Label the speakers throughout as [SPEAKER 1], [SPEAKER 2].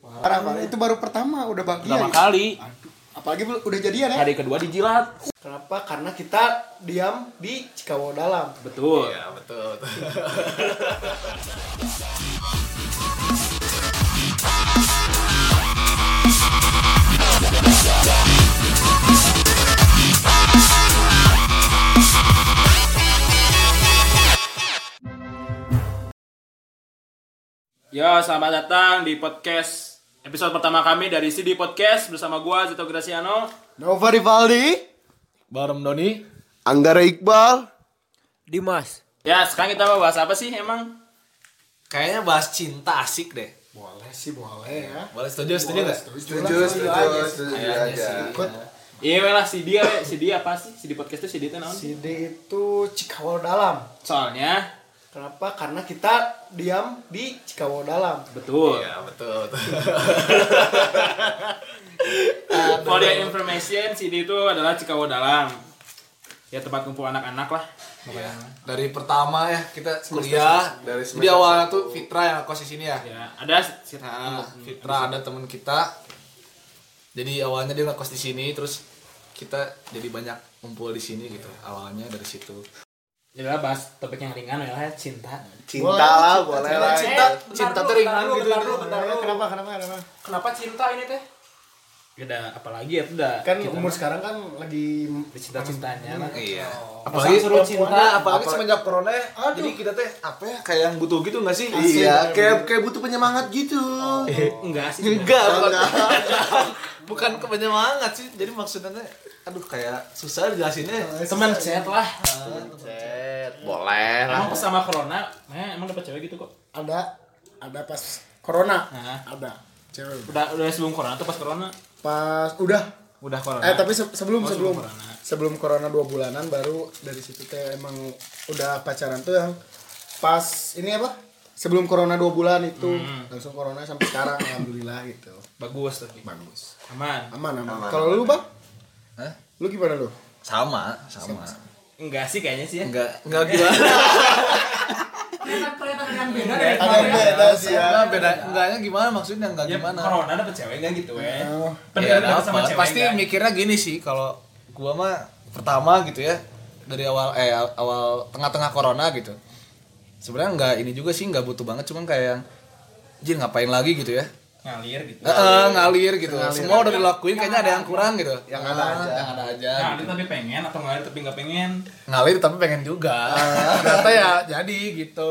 [SPEAKER 1] Parah parah. Itu baru pertama udah bahagia.
[SPEAKER 2] Iya.
[SPEAKER 3] Pertama
[SPEAKER 1] ya.
[SPEAKER 3] kali.
[SPEAKER 1] Aduh. Apalagi belum- udah jadian ya.
[SPEAKER 3] Hari kedua dijilat.
[SPEAKER 2] Kenapa? Karena kita diam di Cikawo dalam.
[SPEAKER 3] Betul.
[SPEAKER 4] Ya betul.
[SPEAKER 3] Ya, selamat datang di podcast episode pertama kami dari CD Podcast bersama gua Zito Graciano.
[SPEAKER 1] Nova Rivaldi.
[SPEAKER 4] Barem Doni.
[SPEAKER 1] Anggara Iqbal.
[SPEAKER 2] Dimas.
[SPEAKER 3] Ya, sekarang kita mau bahas apa sih emang?
[SPEAKER 4] Kayaknya bahas cinta asik deh.
[SPEAKER 2] Boleh sih boleh ya.
[SPEAKER 4] Boleh setuju setuju nggak?
[SPEAKER 5] Setuju, setuju, setuju aja.
[SPEAKER 3] Iya weh lah CD ya, weh. CD apa sih? CD podcast itu CD itu naon?
[SPEAKER 2] Si D itu Cikawo dalam.
[SPEAKER 3] Soalnya
[SPEAKER 2] Kenapa? Karena kita diam di Cikawo dalam.
[SPEAKER 3] betul.
[SPEAKER 4] Ya betul.
[SPEAKER 3] For your information, CD itu adalah Cikawo Dalam. Ya tempat kumpul anak-anak lah.
[SPEAKER 4] Ya, dari pertama ya kita kuliah. Dari Jadi awalnya tuh Fitra yang kos di sini ya.
[SPEAKER 3] Ya, ada si-
[SPEAKER 4] Nah, Fitra ada teman kita. Jadi awalnya dia ngekos di sini terus kita jadi banyak ngumpul di sini gitu. Awalnya dari situ.
[SPEAKER 3] Jadi ya bahas topik yang ringan ya lah, cinta.
[SPEAKER 5] Cinta lah, boleh lah.
[SPEAKER 4] Cinta, cinta tuh ringan gitu.
[SPEAKER 1] ya,
[SPEAKER 2] Kenapa? Kenapa? Kenapa? Kenapa?
[SPEAKER 3] Kenapa cinta ini teh? Ada apalagi ya udah.
[SPEAKER 2] Kan umur sekarang kan lagi
[SPEAKER 3] cinta-cintanya lah.
[SPEAKER 4] Iya. Apalagi suruh
[SPEAKER 2] cinta,
[SPEAKER 4] apalagi semenjak corona ya. Jadi kita teh apa ya kayak yang butuh gitu nggak sih? Oh.
[SPEAKER 5] Iya, kayak kayak butuh penyemangat gitu.
[SPEAKER 3] Enggak sih.
[SPEAKER 4] Enggak, bukan, bukan ke penyemangat sih. Jadi maksudnya teh, aduh kayak susah jelasinnya.
[SPEAKER 3] Teman chat lah.
[SPEAKER 5] Boleh
[SPEAKER 3] Emang pas sama corona, eh, emang dapat cewek gitu kok.
[SPEAKER 2] ada ada pas corona.
[SPEAKER 3] Nah.
[SPEAKER 2] Ada. Cewek.
[SPEAKER 3] Udah udah sebelum corona atau pas corona?
[SPEAKER 2] Pas udah
[SPEAKER 3] Udah corona.
[SPEAKER 2] Eh tapi
[SPEAKER 1] Oh,
[SPEAKER 2] se- sebelum sebelum
[SPEAKER 3] Oh, sebelum corona.
[SPEAKER 2] sebelum corona dua bulanan baru dari situ teh emang udah pacaran tuh yang pas ini apa sebelum corona dua bulan itu
[SPEAKER 4] Hmm.
[SPEAKER 2] langsung corona sampai sekarang alhamdulillah gitu
[SPEAKER 3] bagus tapi.
[SPEAKER 2] bagus
[SPEAKER 3] Aman.
[SPEAKER 2] aman aman, kalau lu bang
[SPEAKER 4] Hah?
[SPEAKER 2] lu gimana lu
[SPEAKER 4] Sama, sama.
[SPEAKER 3] Enggak sih kayaknya sih ya.
[SPEAKER 4] Enggak, enggak gimana.
[SPEAKER 2] ada beda sih
[SPEAKER 4] Enggak beda, enggaknya gimana maksudnya enggak
[SPEAKER 3] Ya,
[SPEAKER 4] gimana?
[SPEAKER 3] corona dapet cewek enggak gitu, weh.
[SPEAKER 2] Oh.
[SPEAKER 4] Ya,
[SPEAKER 3] Bener dapet sama
[SPEAKER 4] dapat.
[SPEAKER 3] cewek.
[SPEAKER 4] pasti
[SPEAKER 3] enggak?
[SPEAKER 4] mikirnya gini sih kalau gua mah pertama gitu ya dari awal eh awal tengah-tengah corona gitu sebenarnya nggak ini juga sih nggak butuh banget cuman kayak yang jin ngapain lagi gitu ya
[SPEAKER 3] ngalir gitu.
[SPEAKER 4] Eh, eh, ngalir gitu semua udah dilakuin kayaknya ada yang kurang gitu yang ada
[SPEAKER 2] Ah.
[SPEAKER 4] aja yang ada aja
[SPEAKER 3] Ngalir tapi pengen atau ngalir tapi nggak pengen?
[SPEAKER 4] ngalir tapi pengen juga ternyata ya jadi gitu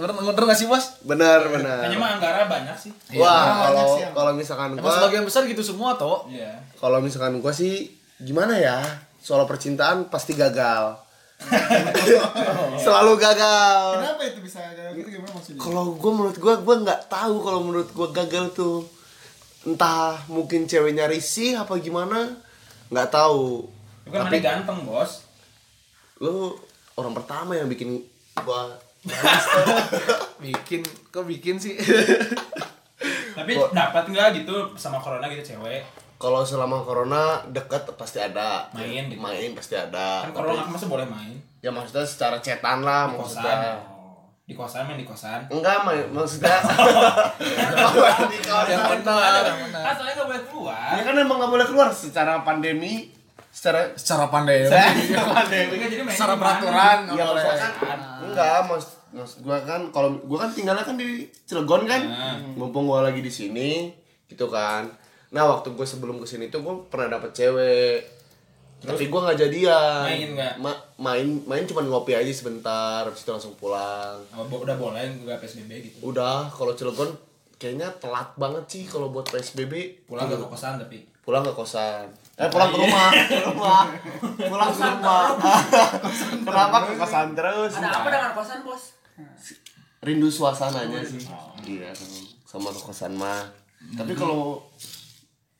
[SPEAKER 4] bener bener nggak sih bos
[SPEAKER 5] Benar,
[SPEAKER 4] Ya.
[SPEAKER 3] Kayaknya
[SPEAKER 5] benar.
[SPEAKER 3] mah anggara banyak sih.
[SPEAKER 5] Wah, kalau kalau misalkan
[SPEAKER 4] emang
[SPEAKER 5] gua
[SPEAKER 4] sebagian besar gitu semua toh
[SPEAKER 3] Iya.
[SPEAKER 5] kalau misalkan gua sih gimana ya? Soal percintaan pasti gagal. Selalu gagal.
[SPEAKER 2] kenapa itu bisa kayak gitu gimana maksudnya
[SPEAKER 5] Kalau gua menurut gua gua nggak tahu kalau menurut gua gagal tuh entah mungkin ceweknya risih apa gimana nggak tahu
[SPEAKER 3] Bukan mana ganteng, Bos.
[SPEAKER 5] lu orang pertama yang bikin gua
[SPEAKER 4] bikin kok bikin sih
[SPEAKER 3] Tapi dapat nggak gitu sama corona gitu cewek?
[SPEAKER 5] kalau selama corona deket pasti ada
[SPEAKER 3] Main gitu.
[SPEAKER 5] main pasti ada
[SPEAKER 3] Kan
[SPEAKER 5] Tapi-
[SPEAKER 3] corona kan masa boleh main
[SPEAKER 5] ya maksudnya secara cetan lah
[SPEAKER 3] di
[SPEAKER 5] maksudnya
[SPEAKER 3] kosan. Di kosan main di kosan.
[SPEAKER 5] enggak main maksudnya
[SPEAKER 4] yang benar yang benar
[SPEAKER 3] Kan soalnya nggak boleh keluar.
[SPEAKER 5] ya kan emang nggak boleh keluar secara pandemi secara
[SPEAKER 4] secara pandai
[SPEAKER 3] Nggak, jadi mainnya
[SPEAKER 4] Iya, secara
[SPEAKER 3] di mana?
[SPEAKER 4] peraturan nggak
[SPEAKER 5] ya
[SPEAKER 4] boleh
[SPEAKER 5] maksudnya kan enggak maksud maksud gua kan kalau gua kan tinggalnya kan di Cilegon kan
[SPEAKER 3] Ah.
[SPEAKER 5] mumpung gua lagi di sini gitu kan nah waktu gue sebelum kesini tuh gue pernah dapet cewek tapi gue nggak jadian
[SPEAKER 3] Main nggak?
[SPEAKER 5] Ma- main main cuma ngopi aja sebentar habis itu langsung pulang
[SPEAKER 3] Apa Oh, bo- Udah boleh nggak PSBB gitu.
[SPEAKER 5] udah kalau Cilegon kayaknya telat banget sih kalau buat PSBB
[SPEAKER 3] Pulang nggak ke kosan tapi.
[SPEAKER 5] pulang ke kosan eh pulang ke rumah ke rumah pulang ke rumah kenapa ke kosan terus
[SPEAKER 6] Ada apa dengan kosan bos?
[SPEAKER 5] rindu Hmm. suasananya sih iya sama ke kosan mah tapi kalau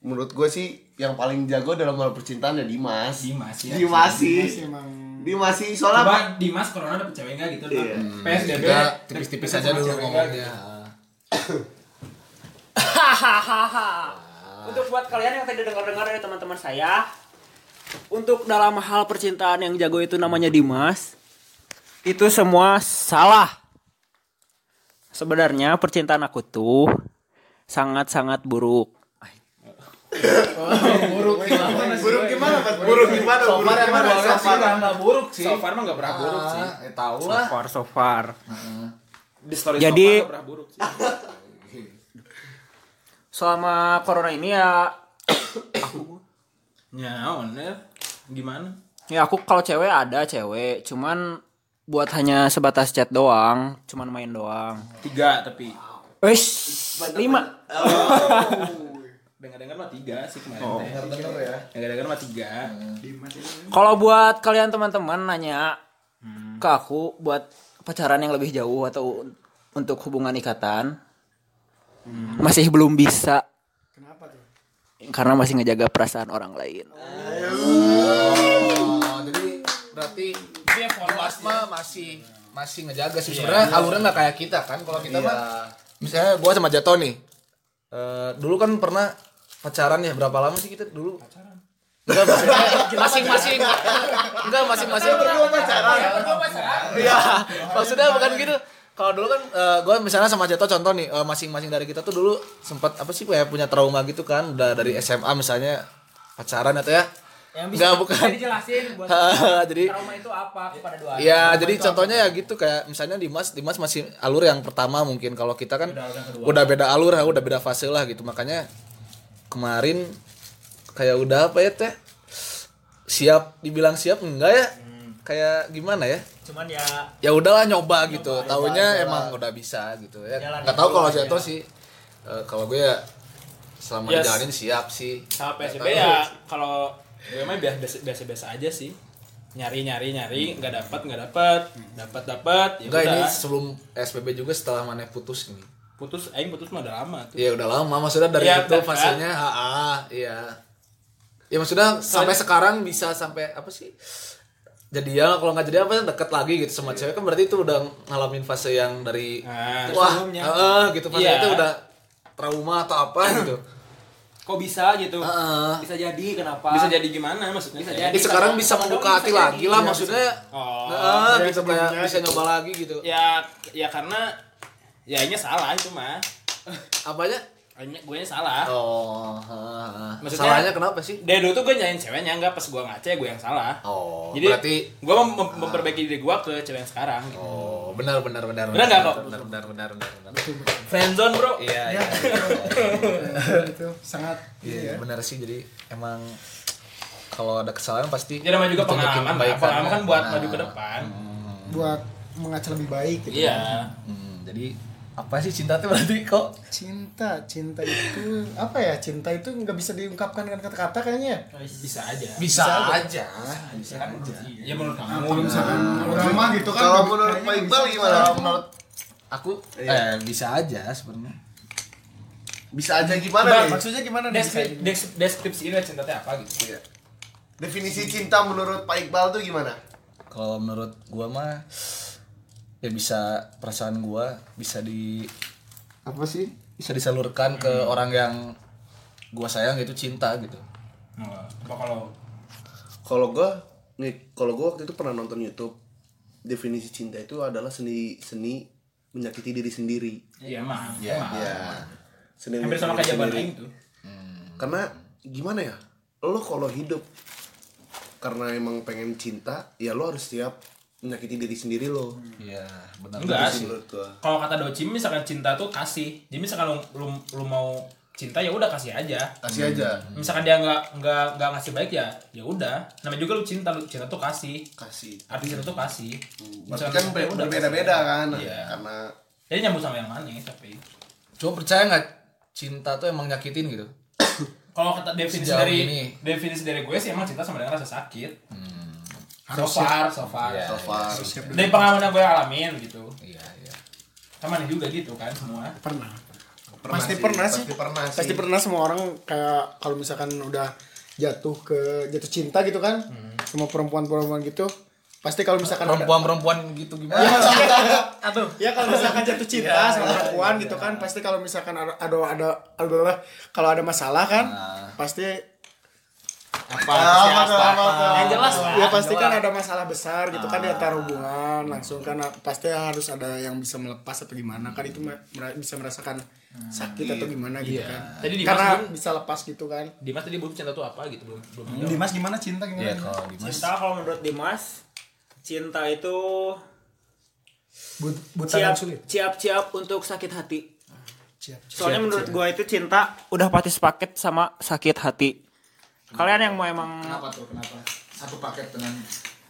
[SPEAKER 5] menurut gue sih yang paling jago dalam hal percintaan ya Dimas
[SPEAKER 3] Dimas ya.
[SPEAKER 5] Dimas sih
[SPEAKER 2] emang
[SPEAKER 5] Dimas sih soalnya
[SPEAKER 3] Coba Dimas corona dapet cewek nggak gitu?
[SPEAKER 5] Iya.
[SPEAKER 3] Nah, PSBB.
[SPEAKER 4] kita tipis-tipis aja dulu ngomongnya
[SPEAKER 6] Hahaha. Untuk buat kalian yang tadi dengar-dengar dari teman-teman saya, untuk dalam hal percintaan yang jago itu namanya Dimas, itu semua salah. Sebenarnya percintaan aku tuh sangat-sangat buruk.
[SPEAKER 2] buruk
[SPEAKER 3] gitu.
[SPEAKER 2] gimana Pat?
[SPEAKER 5] Buruk gimana? Buruk gimana?
[SPEAKER 4] nggak buruk sih.
[SPEAKER 3] So far mah gak pernah buruk sih.
[SPEAKER 4] Ah, ya tahu
[SPEAKER 6] So
[SPEAKER 4] lah.
[SPEAKER 6] far, so far.
[SPEAKER 3] Di story
[SPEAKER 6] Jadi-
[SPEAKER 3] so far gak pernah buruk sih.
[SPEAKER 6] Selama corona ini ya
[SPEAKER 3] Nyaon ya. Gimana?
[SPEAKER 6] Ya aku kalau cewek ada cewek, cuman buat hanya sebatas chat doang, cuman main doang.
[SPEAKER 3] Tiga tapi.
[SPEAKER 6] Wes, lima.
[SPEAKER 3] Dengar-dengar mah tiga sih kemarin. teh.
[SPEAKER 4] Bener-bener ya.
[SPEAKER 3] Dengar-dengar mah tiga.
[SPEAKER 6] Kalau buat kalian teman-teman nanya ke aku buat pacaran yang lebih jauh atau un- untuk hubungan ikatan, masih belum bisa. Kenapa tuh? Karena masih ngejaga perasaan orang lain.
[SPEAKER 4] Oh, jadi berarti Mas mah masih masih ngejaga sih sebenarnya alurnya nggak kayak kita kan kalau kita mah misalnya gua sama Jato nih eh, dulu kan pernah pacaran ya berapa lama sih kita dulu pacaran Enggak, maksudnya masing-masing Enggak, masing-masing berdua pacaran Iya, maksudnya bukan gitu kalau dulu kan gue misalnya sama Jato contoh nih eh, masing-masing dari kita tuh dulu sempat apa sih kayak punya trauma gitu kan udah dari SMA misalnya pacaran atau ya Enggak bukan
[SPEAKER 6] dijelasin buat
[SPEAKER 4] Hahaha, jadi
[SPEAKER 6] itu apa kepada dua.
[SPEAKER 4] ya jadi contohnya ya gitu kayak misalnya Dimas Dimas masih alur yang pertama mungkin kalau kita kan
[SPEAKER 3] Iya.
[SPEAKER 4] udah beda alur ya udah beda fase lah gitu makanya kemarin kayak udah apa ya teh siap dibilang siap enggak ya kayak gimana ya
[SPEAKER 6] Cuman ya
[SPEAKER 4] ya udahlah nyoba gitu tahunya emang udah bisa gitu ya nggak tahu kalau jatuh sih Eh, kalau gue ya selama
[SPEAKER 3] Yes.
[SPEAKER 4] dijalanin siap sih
[SPEAKER 3] Sama PSBB ya kalau gue mah biasa- biasa-biasa aja sih. Nyari-nyari nyari nggak dapat nggak dapat dapat dapat ya
[SPEAKER 4] enggak ini
[SPEAKER 3] udah
[SPEAKER 4] sebelum SPB juga setelah mana putus gini
[SPEAKER 3] putus aing putus mah udah lama tuh
[SPEAKER 4] Iya udah lama maksudnya dari
[SPEAKER 3] Iya,
[SPEAKER 4] itu
[SPEAKER 3] udah,
[SPEAKER 4] fasenya AA iya. Ya maksudnya sampai sekarang bisa sampai apa sih? Jadi ya kalau nggak jadi apa deket lagi gitu sama cewek kan berarti itu udah ngalamin fase yang dari
[SPEAKER 3] Iya. Nah,
[SPEAKER 4] wah heeh, gitu fase
[SPEAKER 3] Iya.
[SPEAKER 4] itu udah trauma atau apa gitu.
[SPEAKER 6] kok bisa gitu?
[SPEAKER 4] Heeh.
[SPEAKER 6] Bisa jadi kenapa?
[SPEAKER 3] bisa jadi gimana maksudnya
[SPEAKER 6] Bisa
[SPEAKER 3] teh?
[SPEAKER 6] jadi.
[SPEAKER 4] Jadi sekarang ah. bisa
[SPEAKER 6] sama
[SPEAKER 4] membuka
[SPEAKER 6] dong,
[SPEAKER 4] hati
[SPEAKER 6] bisa
[SPEAKER 4] lagi
[SPEAKER 6] jadi.
[SPEAKER 4] lah maksudnya.
[SPEAKER 3] Iya, Oh.
[SPEAKER 4] Heeh,
[SPEAKER 2] Yang
[SPEAKER 4] gitu kayak
[SPEAKER 2] sebelumnya
[SPEAKER 4] bisa
[SPEAKER 2] gitu.
[SPEAKER 4] nyoba lagi gitu.
[SPEAKER 3] ya ya karena ya ini salah itu mah
[SPEAKER 4] Apanya?
[SPEAKER 3] Akhirnya gue salah
[SPEAKER 4] Oh, heeh.
[SPEAKER 3] Maksudnya-
[SPEAKER 4] salahnya kenapa sih?
[SPEAKER 3] dari dulu tuh gue nyanyiin ceweknya nggak pas gue ngaca gue yang salah
[SPEAKER 4] Oh,
[SPEAKER 3] jadi
[SPEAKER 4] berarti
[SPEAKER 3] gue mem- mem- memperbaiki diri gue ke cewek yang sekarang gitu.
[SPEAKER 4] Oh, benar benar benar.
[SPEAKER 3] Benar nggak, kok?
[SPEAKER 4] Benar benar benar benar. benar.
[SPEAKER 3] friendzone bro
[SPEAKER 4] Iya, iya.
[SPEAKER 2] itu sangat
[SPEAKER 4] Iya, benar sih jadi emang kalau ada kesalahan pasti
[SPEAKER 3] ya namanya juga
[SPEAKER 4] ditunjukin
[SPEAKER 3] pengalaman lah.
[SPEAKER 4] kebaikan,
[SPEAKER 3] pengalaman kan buat
[SPEAKER 4] Nah,
[SPEAKER 3] maju ke depan
[SPEAKER 2] buat mengaca lebih baik gitu.
[SPEAKER 3] iya
[SPEAKER 4] hmm, jadi apa sih cinta tuh berarti kok
[SPEAKER 2] Cinta, cinta itu apa ya? Cinta itu nggak bisa diungkapkan dengan kata-kata kayaknya.
[SPEAKER 3] bisa aja
[SPEAKER 4] bisa, aja. Bisa aja.
[SPEAKER 3] ya menurut kamu
[SPEAKER 2] Kalau misalkan orang mah gitu kan
[SPEAKER 5] Kalau
[SPEAKER 2] nggak-
[SPEAKER 5] menurut
[SPEAKER 2] kayaknya
[SPEAKER 5] Pak
[SPEAKER 2] nggak
[SPEAKER 5] Iqbal
[SPEAKER 2] bisa.
[SPEAKER 5] gimana?
[SPEAKER 4] Aku
[SPEAKER 3] Iya.
[SPEAKER 4] eh bisa aja sebenarnya.
[SPEAKER 5] Bisa aja gimana
[SPEAKER 3] Bang,
[SPEAKER 5] nih? Iya.
[SPEAKER 2] Maksudnya gimana nih?
[SPEAKER 3] Deskripsi, deskripsi, cinta teh apa gitu
[SPEAKER 5] Definisi cinta menurut Pak Iqbal tuh gimana?
[SPEAKER 4] Kalau menurut gua mah ya bisa perasaan gua bisa di
[SPEAKER 1] Apa sih?
[SPEAKER 4] bisa disalurkan ke
[SPEAKER 3] Hmm.
[SPEAKER 4] orang yang gua sayang itu cinta gitu.
[SPEAKER 3] Nah, apa kalau
[SPEAKER 5] Kalau gua nih, kalau gua waktu itu pernah nonton YouTube definisi cinta itu adalah seni seni menyakiti diri sendiri.
[SPEAKER 3] iya mah
[SPEAKER 4] Iya.
[SPEAKER 3] emang.
[SPEAKER 5] Ya. Seni
[SPEAKER 3] hampir sama
[SPEAKER 5] menyakiti
[SPEAKER 3] kayak jawaban
[SPEAKER 5] sendiri.
[SPEAKER 3] aing tuh
[SPEAKER 5] Karena gimana ya? Lo kalau hidup karena emang pengen cinta, ya lo harus siap menyakiti diri sendiri lo.
[SPEAKER 4] Iya, benar.
[SPEAKER 3] Enggak
[SPEAKER 5] Itu
[SPEAKER 3] sih.
[SPEAKER 5] sih menurut gua.
[SPEAKER 3] kalau kata Doci misalkan cinta tuh kasih jadi misalkan lu, lu, lu mau cinta ya udah kasih aja
[SPEAKER 5] Kasih aja.
[SPEAKER 3] misalkan dia nggak nggak nggak ngasih baik ya ya udah namanya juga lu cinta lu cinta tuh kasih
[SPEAKER 5] Kasih.
[SPEAKER 3] arti cinta tuh kasih
[SPEAKER 5] Berarti kan
[SPEAKER 3] ya udah,
[SPEAKER 5] berbeda-beda
[SPEAKER 3] kasih.
[SPEAKER 5] kan.
[SPEAKER 3] iya
[SPEAKER 5] Karena
[SPEAKER 3] jadi nyambung sama yang mana tapi
[SPEAKER 4] Cuma percaya nggak cinta tuh emang nyakitin gitu?
[SPEAKER 3] kalau kata definisi
[SPEAKER 4] Sejauh
[SPEAKER 3] dari
[SPEAKER 4] ini.
[SPEAKER 3] definisi dari gue sih emang cinta sama dengan rasa sakit so far so far
[SPEAKER 4] Iya.
[SPEAKER 5] so far.
[SPEAKER 3] dari pengalaman yang gue alamin gitu
[SPEAKER 4] Iya, iya.
[SPEAKER 3] sama nih juga gitu kan semua
[SPEAKER 2] Pernah.
[SPEAKER 5] Pernah
[SPEAKER 2] Pasti pernah sih.
[SPEAKER 5] Pasti pernah sih.
[SPEAKER 2] Pasti pernah semua orang kayak kalau misalkan udah jatuh ke jatuh cinta gitu kan.
[SPEAKER 1] Hmm.
[SPEAKER 2] Semua perempuan-perempuan gitu pasti kalau misalkan ada-
[SPEAKER 4] Kan Perempuan-perempuan gitu gimana?
[SPEAKER 2] Ya kalau misalkan jatuh cinta
[SPEAKER 3] Iya,
[SPEAKER 2] sama perempuan gitu kan, pasti kalau misalkan ada ada ada adalah kalau ada masalah kan, pasti
[SPEAKER 3] Nah. Apa?
[SPEAKER 1] Apa tuh, apa tuh?
[SPEAKER 3] Yang jelas Ah. lah.
[SPEAKER 2] Ya pasti kan ada masalah besar gitu kan di antara hubungan langsung kan pasti harus ada yang bisa melepas atau gimana kan itu me- mera- bisa merasakan sakit atau gimana gitu kan.
[SPEAKER 3] Hmm. Iya. Tadi Dimas
[SPEAKER 2] Karena
[SPEAKER 3] kan-
[SPEAKER 2] bisa lepas gitu kan.
[SPEAKER 3] Dimas tadi belum cinta tuh apa gitu belum belum.
[SPEAKER 7] Dimas gimana cinta gimana?
[SPEAKER 4] Iya kalau Dimas.
[SPEAKER 8] Cinta kalau menurut Dimas, cinta itu
[SPEAKER 7] But- buta dan
[SPEAKER 8] siap
[SPEAKER 7] sulit.
[SPEAKER 8] siap siap untuk sakit hati.
[SPEAKER 7] Siap.
[SPEAKER 8] Soalnya menurut gua itu cinta udah pasti sepaket sama sakit hati. Kalian yang mau emang
[SPEAKER 4] Kenapa tuh? Kenapa? Satu paket dengan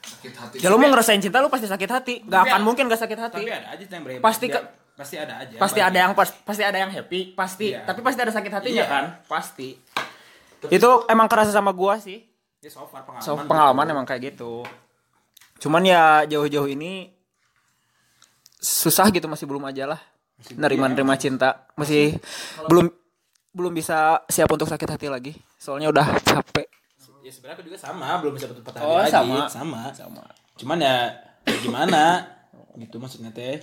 [SPEAKER 4] sakit hati.
[SPEAKER 8] Ya lu mau ngerasain cinta lu pasti sakit hati. Gak akan mungkin gak sakit
[SPEAKER 3] Tapi
[SPEAKER 8] hati.
[SPEAKER 3] ada aja yang berhebat.
[SPEAKER 8] Pasti
[SPEAKER 3] Dia-
[SPEAKER 8] ke-
[SPEAKER 3] pasti ada aja.
[SPEAKER 8] Pasti
[SPEAKER 3] Bagi-
[SPEAKER 8] ada yang pas- pasti ada yang happy, pasti.
[SPEAKER 3] Iya.
[SPEAKER 8] Tapi pasti ada sakit hatinya
[SPEAKER 3] Iya.
[SPEAKER 8] kan? Pasti. Itu emang kerasa sama gua sih.
[SPEAKER 3] Ya, so far pengalaman.
[SPEAKER 8] So, pengalaman emang kayak gitu. Cuman ya jauh-jauh ini susah gitu masih belum aja lah.
[SPEAKER 5] ya,
[SPEAKER 8] Nerima-nerima cinta masih belum belum bisa siap untuk sakit hati lagi. Soalnya udah capek.
[SPEAKER 3] Ya sebenarnya aku juga sama, belum bisa betul petani
[SPEAKER 8] Oh,
[SPEAKER 3] lagi.
[SPEAKER 8] sama.
[SPEAKER 3] sama. Cuman ya, ya gimana? gitu maksudnya teh.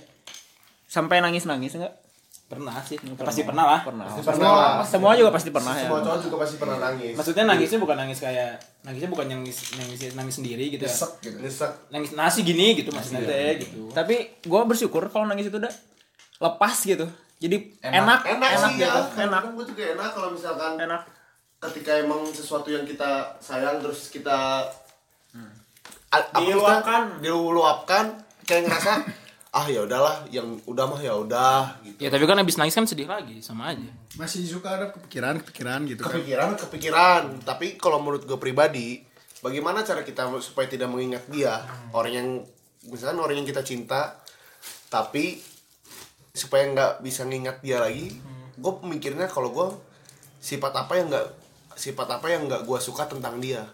[SPEAKER 8] Sampai nangis-nangis enggak?
[SPEAKER 3] Pernah sih. Pasti pernah lah.
[SPEAKER 8] Pernah.
[SPEAKER 5] Ah, Pernah lah.
[SPEAKER 8] Semua juga pasti pernah ya.
[SPEAKER 5] Semua cowok juga pasti pernah nangis.
[SPEAKER 3] Maksudnya nangisnya bukan nangis kayak nangisnya bukan nangis nangis nangis sendiri gitu ya.
[SPEAKER 5] Nyesek.
[SPEAKER 3] Nangis nasi gini gitu maksudnya teh gitu.
[SPEAKER 8] Tapi gue bersyukur kalau nangis itu udah lepas gitu. Jadi enak,
[SPEAKER 5] Enak, sih ya.
[SPEAKER 8] gitu.
[SPEAKER 5] Enak.
[SPEAKER 8] enak,
[SPEAKER 5] Gue juga enak kalau misalkan
[SPEAKER 8] enak.
[SPEAKER 5] ketika emang sesuatu yang kita sayang terus kita A- Hmm. apa
[SPEAKER 8] Diluapkan.
[SPEAKER 5] kita- diluapkan kayak ngerasa ah ya udahlah yang udah mah ya udah gitu.
[SPEAKER 3] Ya tapi kan habis nangis kan sedih lagi sama aja.
[SPEAKER 2] Masih suka ada kepikiran-kepikiran gitu kan.
[SPEAKER 5] Kepikiran kepikiran, tapi kalau menurut gue pribadi, bagaimana cara kita supaya tidak mengingat dia? Orang yang misalkan orang yang kita cinta tapi supaya nggak bisa ngingat dia lagi,
[SPEAKER 2] Hmm.
[SPEAKER 5] gue mikirnya kalau gue sifat apa yang nggak sifat apa yang nggak gue suka tentang dia.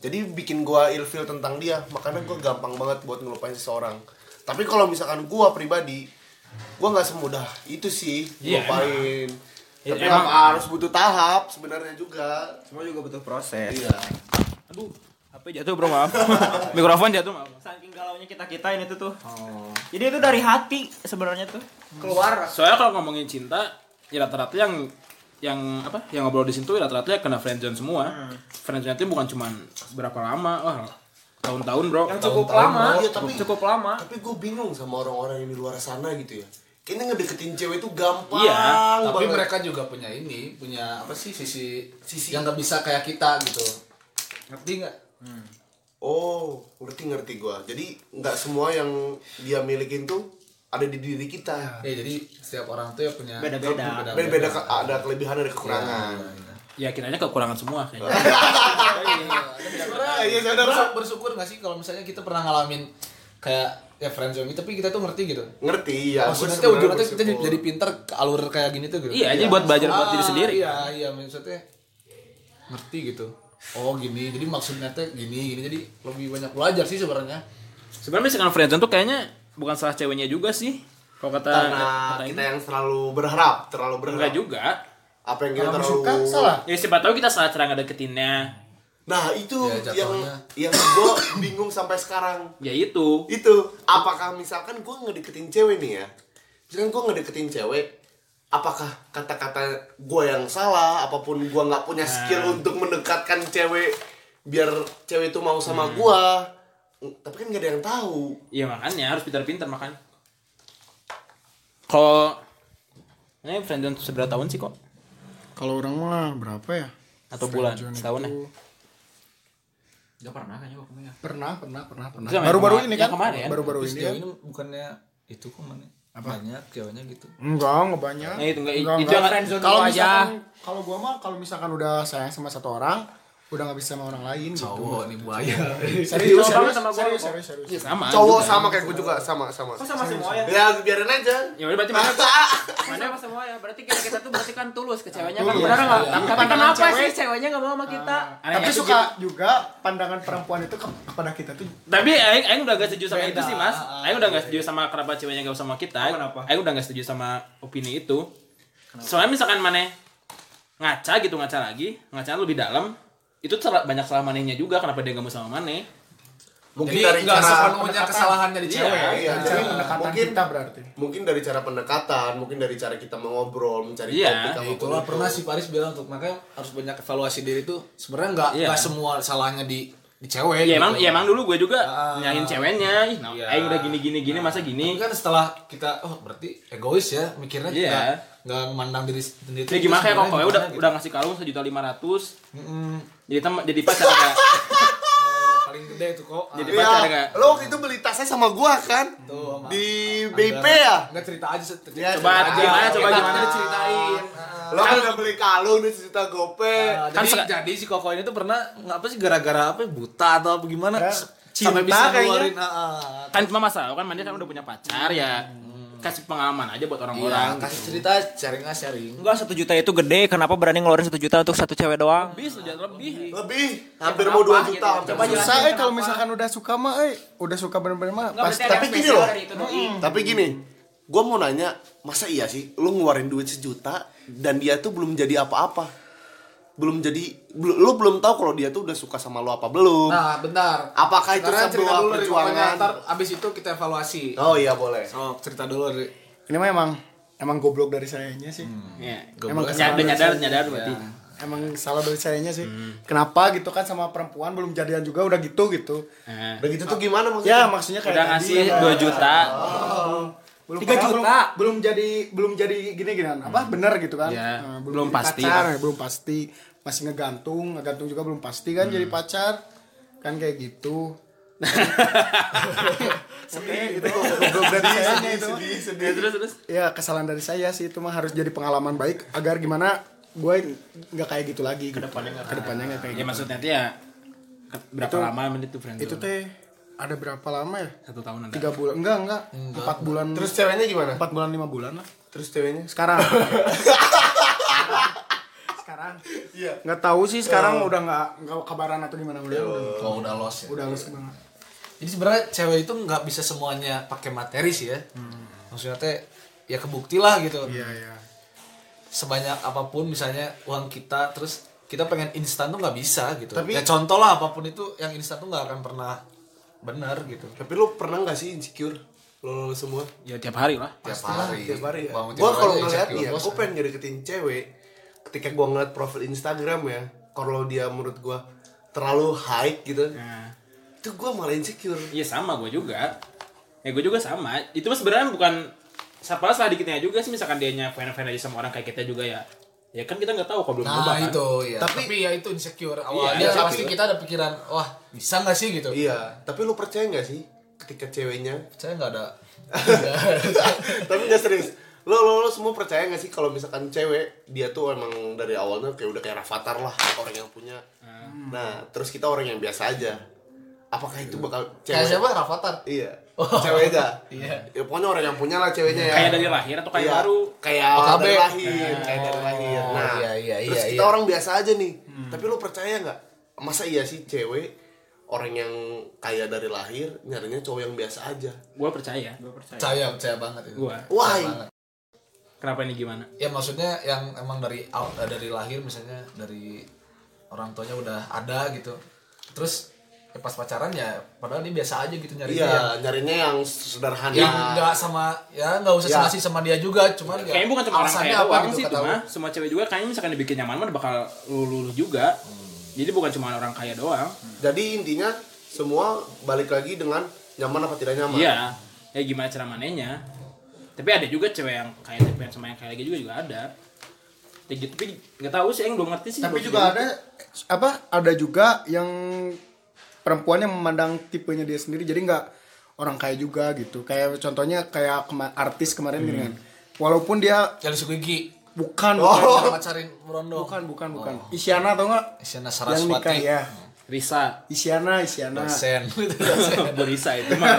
[SPEAKER 5] Jadi bikin gue ilfil tentang dia, makanya
[SPEAKER 2] Hmm.
[SPEAKER 5] gue gampang banget buat ngelupain seseorang. Tapi kalau misalkan gue pribadi, gue nggak semudah itu sih
[SPEAKER 3] Iya,
[SPEAKER 5] ngelupain.
[SPEAKER 3] Ya,
[SPEAKER 5] Tapi
[SPEAKER 3] emang.
[SPEAKER 5] Iya, emang harus butuh tahap sebenarnya juga.
[SPEAKER 8] Semua juga butuh proses.
[SPEAKER 5] Iya.
[SPEAKER 3] Aduh, HP jatuh bro maaf. Mikrofon jatuh maaf.
[SPEAKER 8] Saking galaunya kita kita ini tuh tuh.
[SPEAKER 5] Oh.
[SPEAKER 8] Jadi itu dari hati sebenarnya tuh keluar.
[SPEAKER 3] Soalnya kalau ngomongin cinta, ya rata-rata yang yang apa? Yang ngobrol di situ ya rata-rata ya kena friendzone semua. Friendzone itu bukan cuman berapa lama, wah tahun-tahun bro.
[SPEAKER 8] Yang cukup lama,
[SPEAKER 5] Iya, tapi-
[SPEAKER 8] cukup lama.
[SPEAKER 5] Tapi gue bingung sama orang-orang yang di luar sana gitu ya. Kayaknya ngedeketin cewek itu gampang
[SPEAKER 3] Iya,
[SPEAKER 4] Tapi
[SPEAKER 5] banget.
[SPEAKER 4] mereka juga punya ini, punya apa sih sisi sisi yang nggak bisa kayak kita gitu. Ngerti nggak?
[SPEAKER 5] Oh, ngerti ngerti gua. Jadi nggak semua yang dia milikin tuh ada di diri kita.
[SPEAKER 4] Ya jadi setiap orang tuh ya punya Iya,
[SPEAKER 8] Beda-beda.
[SPEAKER 5] Beda-beda ke- ada kelebihan ada kekurangan.
[SPEAKER 3] Ya kiranya kekurangan semua kayaknya.
[SPEAKER 5] Saudara, iya saudara.
[SPEAKER 4] Bersyukur, bersyukur nggak sih kalau misalnya kita pernah ngalamin kayak ya friendzone gitu, tapi kita tuh ngerti gitu.
[SPEAKER 5] Ngerti ya. gua
[SPEAKER 4] Maksudnya
[SPEAKER 5] sebenarnya
[SPEAKER 4] ujungnya tuh kita jadi,
[SPEAKER 5] bersyukur.
[SPEAKER 4] jadi pinter ke alur kayak gini tuh gitu.
[SPEAKER 3] Iya, jadi buat belajar buat diri
[SPEAKER 4] Ah,
[SPEAKER 3] sendiri.
[SPEAKER 4] Iya, iya maksudnya ngerti gitu. Oh gini, jadi maksudnya tuh gini, gini jadi lebih banyak belajar sih sebenarnya.
[SPEAKER 3] Sebenarnya misalkan friendzone tuh kayaknya bukan salah ceweknya juga sih. Kalau kata
[SPEAKER 5] karena
[SPEAKER 3] kata
[SPEAKER 5] kita
[SPEAKER 3] ini.
[SPEAKER 5] yang terlalu berharap, terlalu
[SPEAKER 3] enggak
[SPEAKER 5] berharap.
[SPEAKER 3] juga.
[SPEAKER 5] Apa yang kita
[SPEAKER 7] Kalau
[SPEAKER 5] terlalu
[SPEAKER 7] suka salah.
[SPEAKER 3] Ya siapa tahu kita salah cara ngedeketinnya.
[SPEAKER 5] Nah, itu
[SPEAKER 4] Ya,
[SPEAKER 5] yang
[SPEAKER 4] jatuhnya.
[SPEAKER 5] yang gua bingung sampai sekarang.
[SPEAKER 3] Ya itu.
[SPEAKER 5] itu apakah misalkan gue ngedeketin cewek nih ya misalkan gue ngedeketin cewek apakah kata-kata gue yang salah apapun gue nggak punya skill
[SPEAKER 4] Nah.
[SPEAKER 5] untuk mendekatkan cewek biar cewek itu mau sama
[SPEAKER 4] Hmm.
[SPEAKER 5] gue tapi kan gak ada yang tahu
[SPEAKER 3] Ya makanya harus pintar-pintar makan. Kalau ini friendzone seberapa tahun sih kok?
[SPEAKER 2] Kalau orang mah berapa ya?
[SPEAKER 3] Atau bulan?
[SPEAKER 2] Friendzone
[SPEAKER 3] Setahun ya?
[SPEAKER 2] itu-
[SPEAKER 4] Gak pernah kayaknya kok ya.
[SPEAKER 2] Pernah, pernah, pernah, pernah.
[SPEAKER 3] Sama yang
[SPEAKER 2] Baru-baru
[SPEAKER 3] kema-
[SPEAKER 2] ini
[SPEAKER 3] yang
[SPEAKER 2] kan?
[SPEAKER 3] kemarin.
[SPEAKER 2] Baru-baru
[SPEAKER 4] Terus
[SPEAKER 2] ini
[SPEAKER 4] dia
[SPEAKER 2] kan?
[SPEAKER 4] ini bukannya itu kok mana? Banyak ceweknya gitu.
[SPEAKER 2] Enggak, enggak banyak.
[SPEAKER 3] Nah, itu enggak- itu
[SPEAKER 2] enggak.
[SPEAKER 3] yang-
[SPEAKER 2] Friendzone
[SPEAKER 3] kalau
[SPEAKER 2] gua
[SPEAKER 3] aja.
[SPEAKER 2] misalkan- Kalau gua mah kalau misalkan udah sayang sama satu orang, udah nggak bisa sama orang lain gitu.
[SPEAKER 4] Cowok nih buaya.
[SPEAKER 2] Serius,
[SPEAKER 8] Sama
[SPEAKER 2] serius,
[SPEAKER 8] sama gua.
[SPEAKER 2] serius, serius, serius.
[SPEAKER 3] Sama.
[SPEAKER 4] Ah, gitu
[SPEAKER 5] cowok
[SPEAKER 4] ya.
[SPEAKER 5] sama kayak gue juga sama sama
[SPEAKER 8] Kok sama semua ya?
[SPEAKER 5] ya biarin aja
[SPEAKER 3] Ya udah berarti mana tuh?
[SPEAKER 8] Mana sama semua ya? Berarti kita kita tuh berarti kan tulus ke ceweknya kan benar enggak? Tapi Ah. kenapa sih ceweknya enggak mau sama kita?
[SPEAKER 2] Tapi suka juga pandangan perempuan itu ke- kepada kita tuh
[SPEAKER 3] Tapi aing aing udah gak setuju sama itu sih, Mas. Aing udah gak setuju sama kerabat ceweknya gak sama kita.
[SPEAKER 7] kenapa?
[SPEAKER 3] Aing udah gak setuju sama opini itu. Soalnya misalkan maneh ngaca gitu ngaca lagi, ngaca lebih dalam, itu ter- banyak salah manehnya juga kenapa dia gak mau sama maneh.
[SPEAKER 5] mungkin
[SPEAKER 4] Jadi
[SPEAKER 5] dari
[SPEAKER 4] nggak
[SPEAKER 5] cara
[SPEAKER 4] sepenuhnya kesalahannya di cewek. ya.
[SPEAKER 5] iya,
[SPEAKER 7] Cara
[SPEAKER 5] jadi
[SPEAKER 7] pendekatan
[SPEAKER 5] mungkin
[SPEAKER 7] kita berarti.
[SPEAKER 5] mungkin dari cara pendekatan mungkin dari cara kita mengobrol mencari
[SPEAKER 3] Iya,
[SPEAKER 5] topik
[SPEAKER 4] Ya,
[SPEAKER 5] apapun
[SPEAKER 4] itulah
[SPEAKER 5] itu.
[SPEAKER 4] pernah si Paris bilang tuh makanya harus banyak evaluasi diri tuh sebenarnya nggak
[SPEAKER 3] Iya.
[SPEAKER 4] nggak semua salahnya di di cewek.
[SPEAKER 3] Iya
[SPEAKER 4] gitu.
[SPEAKER 3] emang, ya emang dulu gue juga
[SPEAKER 4] Ah.
[SPEAKER 3] nyahin ceweknya. Ih, nah,
[SPEAKER 4] Iya.
[SPEAKER 3] aing udah gini gini gini masa
[SPEAKER 4] Tapi
[SPEAKER 3] gini.
[SPEAKER 4] kan setelah kita oh berarti egois ya mikirnya
[SPEAKER 3] Iya.
[SPEAKER 4] nggak nggak memandang diri sendiri.
[SPEAKER 3] Ya gimana kayak kok
[SPEAKER 4] sebenarnya
[SPEAKER 3] kau udah
[SPEAKER 4] gimana gitu.
[SPEAKER 3] udah ngasih kalung sejuta lima ratus.
[SPEAKER 4] Mm-mm.
[SPEAKER 3] Jadi tem jadi pacar kayak
[SPEAKER 4] paling gede itu kok. Ah,
[SPEAKER 5] Iya,
[SPEAKER 3] jadi pacar
[SPEAKER 1] Ya,
[SPEAKER 3] kayak
[SPEAKER 1] lo waktu itu beli tasnya sama gua kan?
[SPEAKER 4] tuh, sama-
[SPEAKER 1] Di
[SPEAKER 4] ada-
[SPEAKER 1] BIP ya?
[SPEAKER 4] Nggak cerita aja Iya, cerita.
[SPEAKER 5] Ya,
[SPEAKER 3] coba
[SPEAKER 5] coba
[SPEAKER 3] gimana
[SPEAKER 5] aja.
[SPEAKER 3] coba
[SPEAKER 5] Kita
[SPEAKER 3] gimana
[SPEAKER 5] aja
[SPEAKER 3] ceritain.
[SPEAKER 1] Lo kan udah beli kalung di sejuta gope.
[SPEAKER 4] Ah,
[SPEAKER 3] Kan
[SPEAKER 4] jadi,
[SPEAKER 3] seka-
[SPEAKER 4] jadi si Koko ini tuh pernah nggak apa sih gara-gara apa ya, buta atau apa gimana sampai
[SPEAKER 1] cinta
[SPEAKER 4] bisa
[SPEAKER 1] kayaknya.
[SPEAKER 4] ngeluarin ah, ah.
[SPEAKER 3] Kan cuma masalah kan mandi kan udah punya pacar ya. Kasih pengalaman aja buat
[SPEAKER 4] Iya,
[SPEAKER 3] orang-orang.
[SPEAKER 4] kasih cerita sharing ah, sharing.
[SPEAKER 8] Enggak satu juta itu gede, kenapa berani ngeluarin satu juta untuk satu cewek doang?
[SPEAKER 3] Lebih sejuta lebih.
[SPEAKER 5] Lebih hampir mau 2
[SPEAKER 3] gitu.
[SPEAKER 5] juta. hampir mau
[SPEAKER 2] Susah eh kalau misalkan udah suka mah eh udah suka bener-bener mah
[SPEAKER 5] Pas- tapi gini loh. Hmm. Tapi gini, gue mau nanya, masa iya sih lu ngeluarin duit sejuta dan dia tuh belum jadi apa-apa? Belum jadi bel- lu belum tahu kalau dia tuh udah suka sama lu apa belum.
[SPEAKER 4] Nah, bentar.
[SPEAKER 5] Apakah itu
[SPEAKER 4] Sekarang cerita
[SPEAKER 5] sebuah
[SPEAKER 4] dulu dari
[SPEAKER 5] perjuangan?
[SPEAKER 4] pokoknya, Ntar abis itu kita evaluasi.
[SPEAKER 5] Oh iya boleh.
[SPEAKER 4] Oh, cerita dulu dari
[SPEAKER 2] ini mah emang emang goblok dari sayanya sih
[SPEAKER 3] Iya.
[SPEAKER 2] Emang
[SPEAKER 3] Nyadar nyadar nyadar berarti.
[SPEAKER 2] emang salah dari sayanya sih
[SPEAKER 3] Hmm.
[SPEAKER 2] kenapa gitu kan sama perempuan belum jadian juga udah gitu gitu
[SPEAKER 3] Nah,
[SPEAKER 5] Begitu tuh gimana
[SPEAKER 2] ya
[SPEAKER 5] maksudnya?
[SPEAKER 2] maksudnya kayak
[SPEAKER 3] Udah
[SPEAKER 2] tadi,
[SPEAKER 3] ngasih
[SPEAKER 2] ya.
[SPEAKER 3] 2 juta.
[SPEAKER 2] belum
[SPEAKER 8] Tiga
[SPEAKER 2] padahal
[SPEAKER 8] juta.
[SPEAKER 2] belum, belum jadi belum jadi gini gini apa bener gitu kan
[SPEAKER 3] Iya.
[SPEAKER 2] Nah,
[SPEAKER 3] Belum
[SPEAKER 2] jadi
[SPEAKER 3] pasti.
[SPEAKER 2] pacar, belum pasti masih ngegantung ngegantung juga belum pasti kan jadi pacar kan kayak gitu Sedih, itu goblok dari sayanya itu
[SPEAKER 3] Ya, terus terus.
[SPEAKER 2] ya kesalahan dari saya sih itu mah harus jadi pengalaman baik agar gimana gue nggak kayak gitu lagi kedepannya nggak kedepannya nggak kayak
[SPEAKER 3] Ya
[SPEAKER 2] gitu
[SPEAKER 3] maksudnya tuh ya ke- berapa
[SPEAKER 2] Itu-
[SPEAKER 3] lama menit tuh friend
[SPEAKER 2] itu teh ada berapa lama ya
[SPEAKER 3] satu tahunan
[SPEAKER 2] tiga bulan enggak enggak empat bulan
[SPEAKER 5] Terus ceweknya gimana?
[SPEAKER 2] empat bulan lima bulan lah
[SPEAKER 5] Terus ceweknya?
[SPEAKER 2] sekarang sekarang iya nggak tahu sih
[SPEAKER 4] Iya.
[SPEAKER 2] sekarang udah nggak nggak kabaran atau gimana udah udah
[SPEAKER 4] kalau udah los ya.
[SPEAKER 2] udah halus banget
[SPEAKER 4] Jadi sebenarnya cewek itu nggak bisa semuanya pakai materi sih ya. Maksudnya teh ya kebukti lah gitu.
[SPEAKER 2] iya iya
[SPEAKER 4] Sebanyak apapun misalnya uang kita terus kita pengen instan tuh nggak bisa gitu.
[SPEAKER 5] Tapi-
[SPEAKER 4] ya contoh lah apapun itu yang instan tuh nggak akan pernah benar gitu.
[SPEAKER 5] Tapi lu pernah gak sih insecure? Lo semua?
[SPEAKER 3] ya tiap hari lah
[SPEAKER 4] Tiap hari.
[SPEAKER 5] tiap hari ya.
[SPEAKER 4] Bangun
[SPEAKER 5] Gue
[SPEAKER 4] tidur
[SPEAKER 5] kalau
[SPEAKER 4] aja
[SPEAKER 5] ngeliat
[SPEAKER 4] insecure,
[SPEAKER 5] ya,
[SPEAKER 4] bos.
[SPEAKER 5] gue pengen ngedeketin cewek. Ketika gue ngeliat profil Instagram ya, kalau dia menurut gue terlalu high gitu,
[SPEAKER 3] nah.
[SPEAKER 5] itu gue malah insecure.
[SPEAKER 3] Iya sama gue juga. Ya gue juga sama. Itu mah sebenarnya bukan salah salah dikitnya juga sih misalkan dia nya fan fan aja sama orang kayak kita juga ya. Ya kan kita nggak tahu kalau belum berubah
[SPEAKER 4] Nah
[SPEAKER 3] kan.
[SPEAKER 4] itu ya. Tapi, ya itu insecure awalnya
[SPEAKER 5] Iya,
[SPEAKER 4] pasti
[SPEAKER 5] tapi-
[SPEAKER 4] kita ada pikiran wah bisa nggak sih gitu.
[SPEAKER 5] Iya, tapi lu percaya gak sih ketika ceweknya?
[SPEAKER 4] Saya nggak ada.
[SPEAKER 5] tapi gak serius. Lo, lo, lo semua percaya gak sih kalau misalkan cewek dia tuh emang dari awalnya kayak udah kayak Rafathar lah orang yang punya. Nah, terus kita orang yang biasa aja. Apakah itu bakal
[SPEAKER 4] Kayak
[SPEAKER 5] cewek?
[SPEAKER 4] siapa Rafathar?
[SPEAKER 5] Iya. Ceweknya.
[SPEAKER 4] Oh. Iya.
[SPEAKER 5] Ya pokoknya orang yang punya lah ceweknya ya.
[SPEAKER 3] Kayak dari lahir atau kayak
[SPEAKER 5] Iya,
[SPEAKER 3] baru.
[SPEAKER 5] Kayak
[SPEAKER 4] OKB.
[SPEAKER 5] dari lahir, kayak dari lahir.
[SPEAKER 4] Nah. Oh,
[SPEAKER 5] Nah,
[SPEAKER 4] iya, iya,
[SPEAKER 5] terus
[SPEAKER 4] iya,
[SPEAKER 5] kita
[SPEAKER 4] iya. Hmm.
[SPEAKER 5] orang biasa aja nih. Tapi lo percaya nggak? Masa iya sih cewek orang yang kaya dari lahir nyarinya cowok yang biasa aja.
[SPEAKER 3] Gue percaya.
[SPEAKER 4] Percaya percaya banget itu.
[SPEAKER 3] Gue.
[SPEAKER 5] Why?
[SPEAKER 4] Iya, Banget.
[SPEAKER 3] Kenapa ini gimana?
[SPEAKER 4] Ya maksudnya yang emang dari aw- eh, dari lahir misalnya dari orang tuanya udah ada gitu. Terus ya pas pacaran ya padahal dia biasa aja gitu nyari
[SPEAKER 5] Iya, nyarinya yang
[SPEAKER 2] Iya.
[SPEAKER 5] sederhana.
[SPEAKER 3] Iya.
[SPEAKER 4] yang enggak sama ya enggak usah
[SPEAKER 5] Iya.
[SPEAKER 4] senasib sama dia juga cuman ya
[SPEAKER 3] Kayaknya bukan cuma orang
[SPEAKER 4] alasannya
[SPEAKER 3] kaya doang
[SPEAKER 4] gitu
[SPEAKER 3] sih itu
[SPEAKER 4] kata lu?
[SPEAKER 3] mah. Semua cewek juga kayaknya misalkan dibikin nyaman mah bakal lulu juga.
[SPEAKER 4] Hmm.
[SPEAKER 3] Jadi bukan cuma orang kaya doang.
[SPEAKER 5] Jadi intinya semua balik lagi dengan nyaman apa tidak nyaman.
[SPEAKER 3] Iya. Ya gimana cara manenya. Tapi ada juga cewek yang kaya tapi yang sama yang kaya lagi juga juga ada. Ya gitu, tapi nggak tahu sih, yang belum ngerti sih.
[SPEAKER 2] tapi
[SPEAKER 3] belum
[SPEAKER 2] juga ada apa ada juga yang perempuan yang memandang tipenya dia sendiri jadi nggak orang kaya juga gitu kayak contohnya kayak kema- artis
[SPEAKER 5] Hmm.
[SPEAKER 2] kemarin gini kan walaupun dia
[SPEAKER 4] Jadi suku gigi
[SPEAKER 2] bukan
[SPEAKER 4] oh.
[SPEAKER 2] bukan
[SPEAKER 4] pacarin Rondo
[SPEAKER 2] bukan bukan bukan Isyana tau nggak yang nikah
[SPEAKER 4] Isyana
[SPEAKER 2] Nah.
[SPEAKER 4] Saraswati Nah.
[SPEAKER 2] ya
[SPEAKER 3] Risa.
[SPEAKER 2] Isyana Isyana
[SPEAKER 4] dosen
[SPEAKER 3] Berisa itu mah.